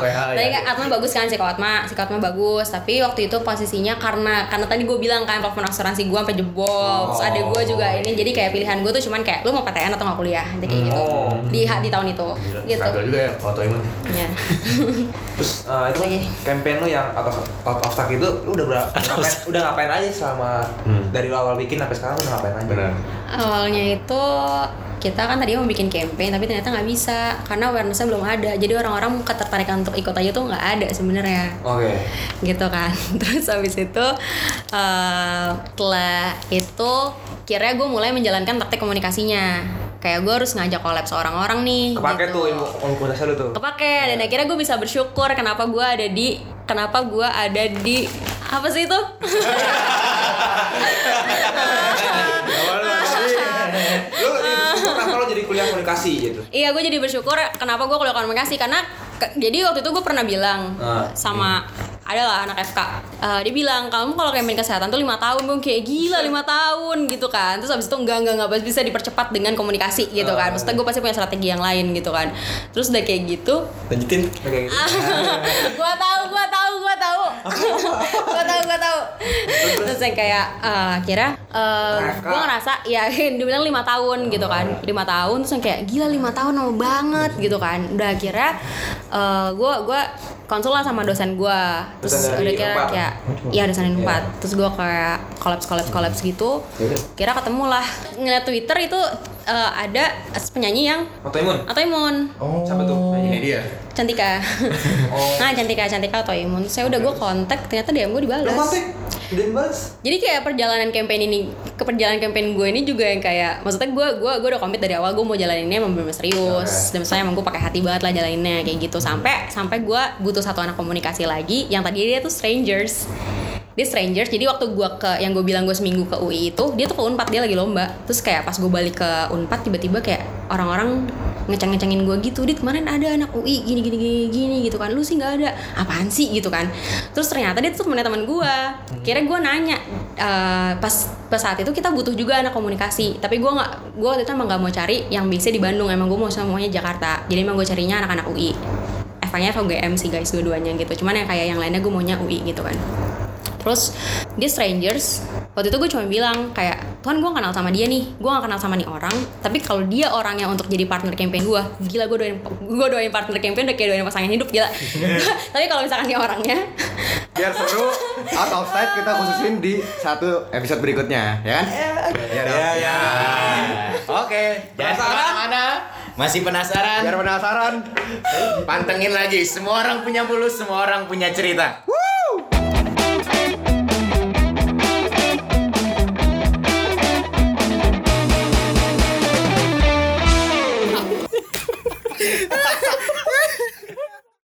[SPEAKER 1] PH
[SPEAKER 4] Tadi
[SPEAKER 1] ya.
[SPEAKER 4] kan Atma bagus kan Ceko Atma, Ceko Atma bagus. Tapi waktu itu posisinya karena karena tadi gue bilang kan platform asuransi gue sampai jebol. Terus ada gue juga ini jadi kayak pilihan gue tuh cuman kayak lu mau PTN atau nggak kuliah, jadi kayak gitu.
[SPEAKER 1] Oh.
[SPEAKER 4] Di di tahun itu. Gitu.
[SPEAKER 1] Hmm. Struggle juga ya foto imun.
[SPEAKER 4] Ya.
[SPEAKER 6] Terus eh, itu kan
[SPEAKER 4] Lagi.
[SPEAKER 6] campaign lu yang out of, out of stock itu lu udah berapa? ngapain, udah ngapain aja selama
[SPEAKER 1] Hmm.
[SPEAKER 6] dari lu awal bikin sampai sekarang lu udah ngapain aja?
[SPEAKER 1] Benar.
[SPEAKER 4] Awalnya itu kita kan tadi mau bikin campaign tapi ternyata nggak bisa karena awarenessnya belum ada. Jadi orang-orang ketertarikan untuk ikut aja tuh nggak ada sebenarnya.
[SPEAKER 6] Oke.
[SPEAKER 4] gitu kan terus habis itu eh setelah itu kira gue mulai menjalankan praktek komunikasinya kayak gue harus ngajak collab seorang orang nih
[SPEAKER 6] Kepake
[SPEAKER 4] gitu.
[SPEAKER 6] tuh ilmu ilmu komunikasi lu tuh.
[SPEAKER 4] kepake dan akhirnya gue bisa bersyukur kenapa gue ada di kenapa gue ada di apa sih itu
[SPEAKER 6] Lu kenapa lu jadi kuliah komunikasi gitu?
[SPEAKER 4] Iya, gue jadi bersyukur kenapa gue kuliah komunikasi karena ke- jadi waktu itu gue pernah bilang
[SPEAKER 6] Ah,
[SPEAKER 4] sama adalah anak FK. Eh, dia bilang kamu kalau kampanye kesehatan tuh lima tahun, gue kayak gila lima tahun gitu kan. Terus abis itu enggak enggak enggak bisa dipercepat dengan komunikasi gitu kan. Maksudnya gue pasti punya strategi yang lain gitu kan. Terus udah kayak gitu,
[SPEAKER 5] Lanjutin.
[SPEAKER 6] Kayak gitu.
[SPEAKER 4] gua tahu gua tahu gua tahu gua tahu gua tahu terus yang kayak eh, kira eh, gua ngerasa ya dibilang lima tahun gitu kan
[SPEAKER 6] Oh.
[SPEAKER 4] lima tahun terus yang kayak gila lima tahun lama banget gitu kan udah akhirnya eh, gua gua konsul lah sama dosen gua terus
[SPEAKER 6] Dosen
[SPEAKER 4] udah
[SPEAKER 6] dari
[SPEAKER 4] kira
[SPEAKER 6] empat.
[SPEAKER 4] kayak iya dosen yang empat terus gua kayak kolaps kolaps kolaps gitu
[SPEAKER 6] Iya.
[SPEAKER 4] kira ketemu lah ngeliat twitter itu eh, ada penyanyi yang
[SPEAKER 6] Autoimun.
[SPEAKER 4] autoimun
[SPEAKER 6] Siapa tuh?
[SPEAKER 2] Ini dia.
[SPEAKER 4] Cantika.
[SPEAKER 6] Oh.
[SPEAKER 4] Nah, Cantika, Cantika atau Imun. Saya udah gue kontak, ternyata DM gue
[SPEAKER 6] Lu
[SPEAKER 4] dibalas.
[SPEAKER 6] kontak? Udah dibales?
[SPEAKER 4] Jadi kayak perjalanan campaign ini, ke perjalanan campaign gue ini juga yang kayak maksudnya gue gue gue udah komit dari awal gue mau jalaninnya emang bener serius. Dan misalnya emang gue pakai hati banget lah jalaninnya kayak gitu sampai sampai gue butuh satu anak komunikasi lagi yang tadi dia tuh strangers. Dia strangers, jadi waktu gue ke yang gue bilang gue seminggu ke UI itu dia tuh ke Unpad dia lagi lomba. Terus kayak pas gue balik ke Unpad tiba-tiba kayak orang-orang ngeceng-ngecengin gue gitu dit kemarin ada anak UI gini gini gini gini gitu kan lu sih nggak ada apaan sih gitu kan terus ternyata dia tuh temennya teman gue kira gue nanya eh, pas pas saat itu kita butuh juga anak komunikasi tapi gue nggak gue waktu itu emang nggak mau cari yang bisa di Bandung emang gue mau semuanya Jakarta jadi emang gue carinya anak-anak UI FA-nya FGM sih guys dua-duanya gitu cuman yang kayak yang lainnya gue maunya UI gitu kan terus dia strangers waktu itu gue cuma bilang kayak Tuhan gue kenal sama dia nih gue gak kenal sama nih orang tapi kalau dia orang yang untuk jadi partner campaign gue gila gue doain gue doain partner campaign udah kayak doain pasangan hidup gila tapi kalau misalkan dia orangnya
[SPEAKER 1] Biar seru, out of sight kita khususin di satu episode berikutnya, ya kan? Ya, dong.
[SPEAKER 2] Ya. Oke. Dan mana-mana masih penasaran?
[SPEAKER 1] Biar penasaran.
[SPEAKER 2] Pantengin lagi. Semua orang punya bulu, semua orang punya cerita.